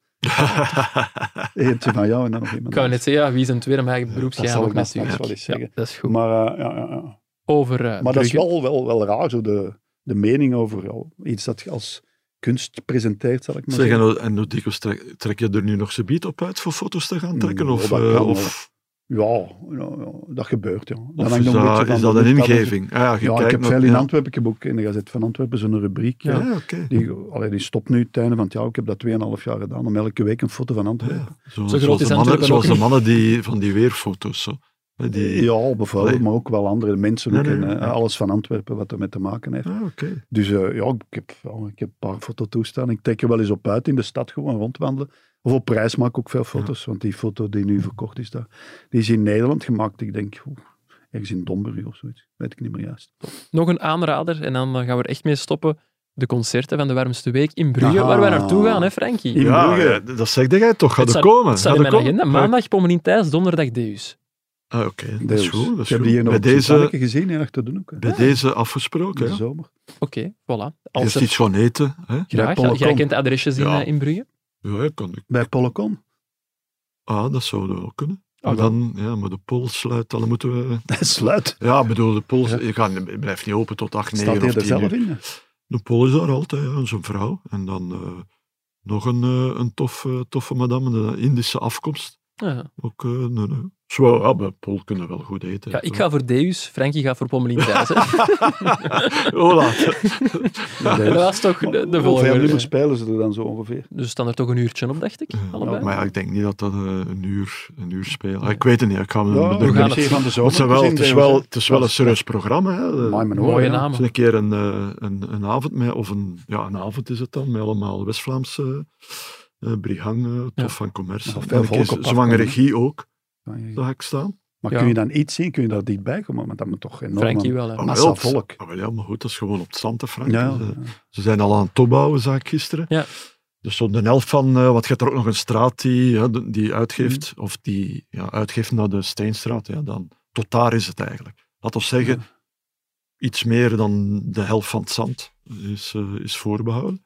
Eentje van jou en dan nog iemand. Ik wou net anders. zeggen, ja, wie is een tweede, maar eigenlijk dat beroepsgeheim zal ook ik dan straks natuurlijk. wel eens zeggen. Ja, dat is goed. Maar, eh, ja, ja, ja. Over eh, maar dat is Brugge. wel, wel, wel raar, zo de, de mening over jou. iets dat je als kunst presenteert, zal ik [LAUGHS] maar [LAUGHS] Zeg, en zeggen. hoe- en hoe dikwijls trek, trek je er nu nog subiet op uit voor foto's te gaan trekken? Mm, Of, dat eh, kan, of, Ja, ja, ja, dat gebeurt, ja. Dat of hangt is, nog een beetje dat, van is de dat een lucht af en zo. ingeving? Ah, ja, je Ja, kijkt ik heb naar- veel in ja. Antwerpen, ik heb ook in de Gazet van Antwerpen zo'n rubriek. Ja, eh, oké. Die, allee, die stopt nu het einde van het jaar. Ik heb dat 2,5 jaar gedaan, om elke week een foto van Antwerpen. Ja, zo, groot zoals is de Antwerpen mannen, zoals ook de niet. mannen die, van die weerfoto's. Zo. Hè, Die, Ja, bijvoorbeeld, Allee. maar ook wel andere mensen. Nee, ook, nee, en, eh, ja. Alles van Antwerpen wat ermee te maken heeft. Ah, oké. Dus eh, ja, ik heb, ja, ik heb een paar foto's toestaan. Ik trek er wel eens op uit in de stad, gewoon rondwandelen. Of op reis maak ik ook veel foto's, want die foto die nu verkocht is, daar, die is in Nederland gemaakt. Ik denk, oeh, ergens in Domburg of zoiets. Weet ik niet meer juist. Nog een aanrader, en dan eh, gaan we er echt mee stoppen. De concerten van de warmste week in Brugge, Aha. waar wij naartoe gaan, hè Frankie? In Ja, Brugge. ja, dat zegde jij toch? Ga Het er staat- komen. Het staat Ga in er mijn komen. agenda. Maandag Pommelien Thijs, donderdag Deus. Ah, oké. Dat is Deels. goed. Dat is ik heb goed. die Dus, hier nog Bij op deze... deze, gezien, hier achter de hoek. hè. bij deze afgesproken. In de hè. zomer. Oké, voilà. Eerst Als er, iets gaan eten. Hè? bij graag. Pollecom. Jij kent de adresjes in, Ja. eh, in Brugge? Ja, ja, kan ik. Bij Pollecon. Ah, dat zou wel kunnen. Ah, Maar dan, ja, maar de pool sluit, dan moeten we... [LAUGHS] Dat sluit. Ja, ik bedoel, de pool Ja. je gaat- je blijft niet open tot 8, 9 Staat of hij er 10 zelf uur. in? [LAUGHS] hè? De pool is daar altijd, ja, zijn vrouw. En dan eh, nog een, eh, een toffe, toffe madame, de Indische afkomst. Ja. Ook, eh nee, nee. Zo, ja, bij pool kunnen we wel goed eten. Ja, ik [LAUGHS] ga voor Deus, Frankie gaat voor Pommelien [LAUGHS] Thijs. hè. [LAUGHS] Hola. dat was toch de, de Hoeveel nummers volgende. spelen ze er dan zo ongeveer? Dus staan er toch een uurtje op, dacht ik. Mm. Ja, Allebei. maar ja, ik denk niet dat dat eh, een uur, een uur speelt. Ah, ik weet het niet, ik ga me... Ja, er- we ik gaan heb het ze hier zien. van de Want het, zomer is wel, gezien, het, is Deels, wel, hè. het is wel een serieus programma. Hè. Amai, mijn hoor, ja. Mooie Het is een namen. keer een, eh, een, een avond met, of een, ja, een avond is het dan, met allemaal West-Vlaamse eh Brihang, eh, Tof Ja. van Commerce. Nou, En veel een keer volk op af, Zwangere hè. Gie ook, Maar daar ga ik staan. Ja. kun je dan iets zien? Kun je daar dichtbij komen? Want dat moet toch enorm... Frankie wel, hè. Een Ah, massa wel, het- volk. ah, wel, ja, maar goed, dat is gewoon op het strand, hè, Frank. Ja, Dus, eh, ja. Ze zijn al aan het opbouwen, zag ik gisteren. Ja. Er stond een elf van, eh, wat gaat er ook nog een straat die, ja, de- die uitgeeft, Mhm. of die ja, uitgeeft naar de Steenstraat. Ja, dan, tot daar is het eigenlijk. Laat ons zeggen, iets meer dan de helft van het zand is, eh, is voorbehouden.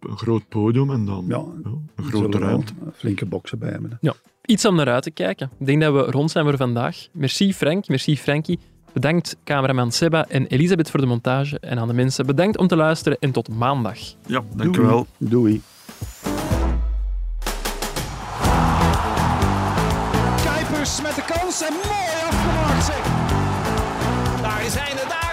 Een groot podium en dan Ja, eh, ja, een er grote zullen wel ruimte. Flinke boksen bij hebben. hè. Iets om naar uit te kijken. Ik denk dat we rond zijn voor vandaag. Merci Frank, merci Frankie. Bedankt cameraman Seba en Elisabeth voor de montage. En aan de mensen, bedankt om te luisteren en tot maandag. Ja, Doei. dankjewel. Doei. Kuipers met de kans en mooi afgemaakt zeg. Daar zijn de, daar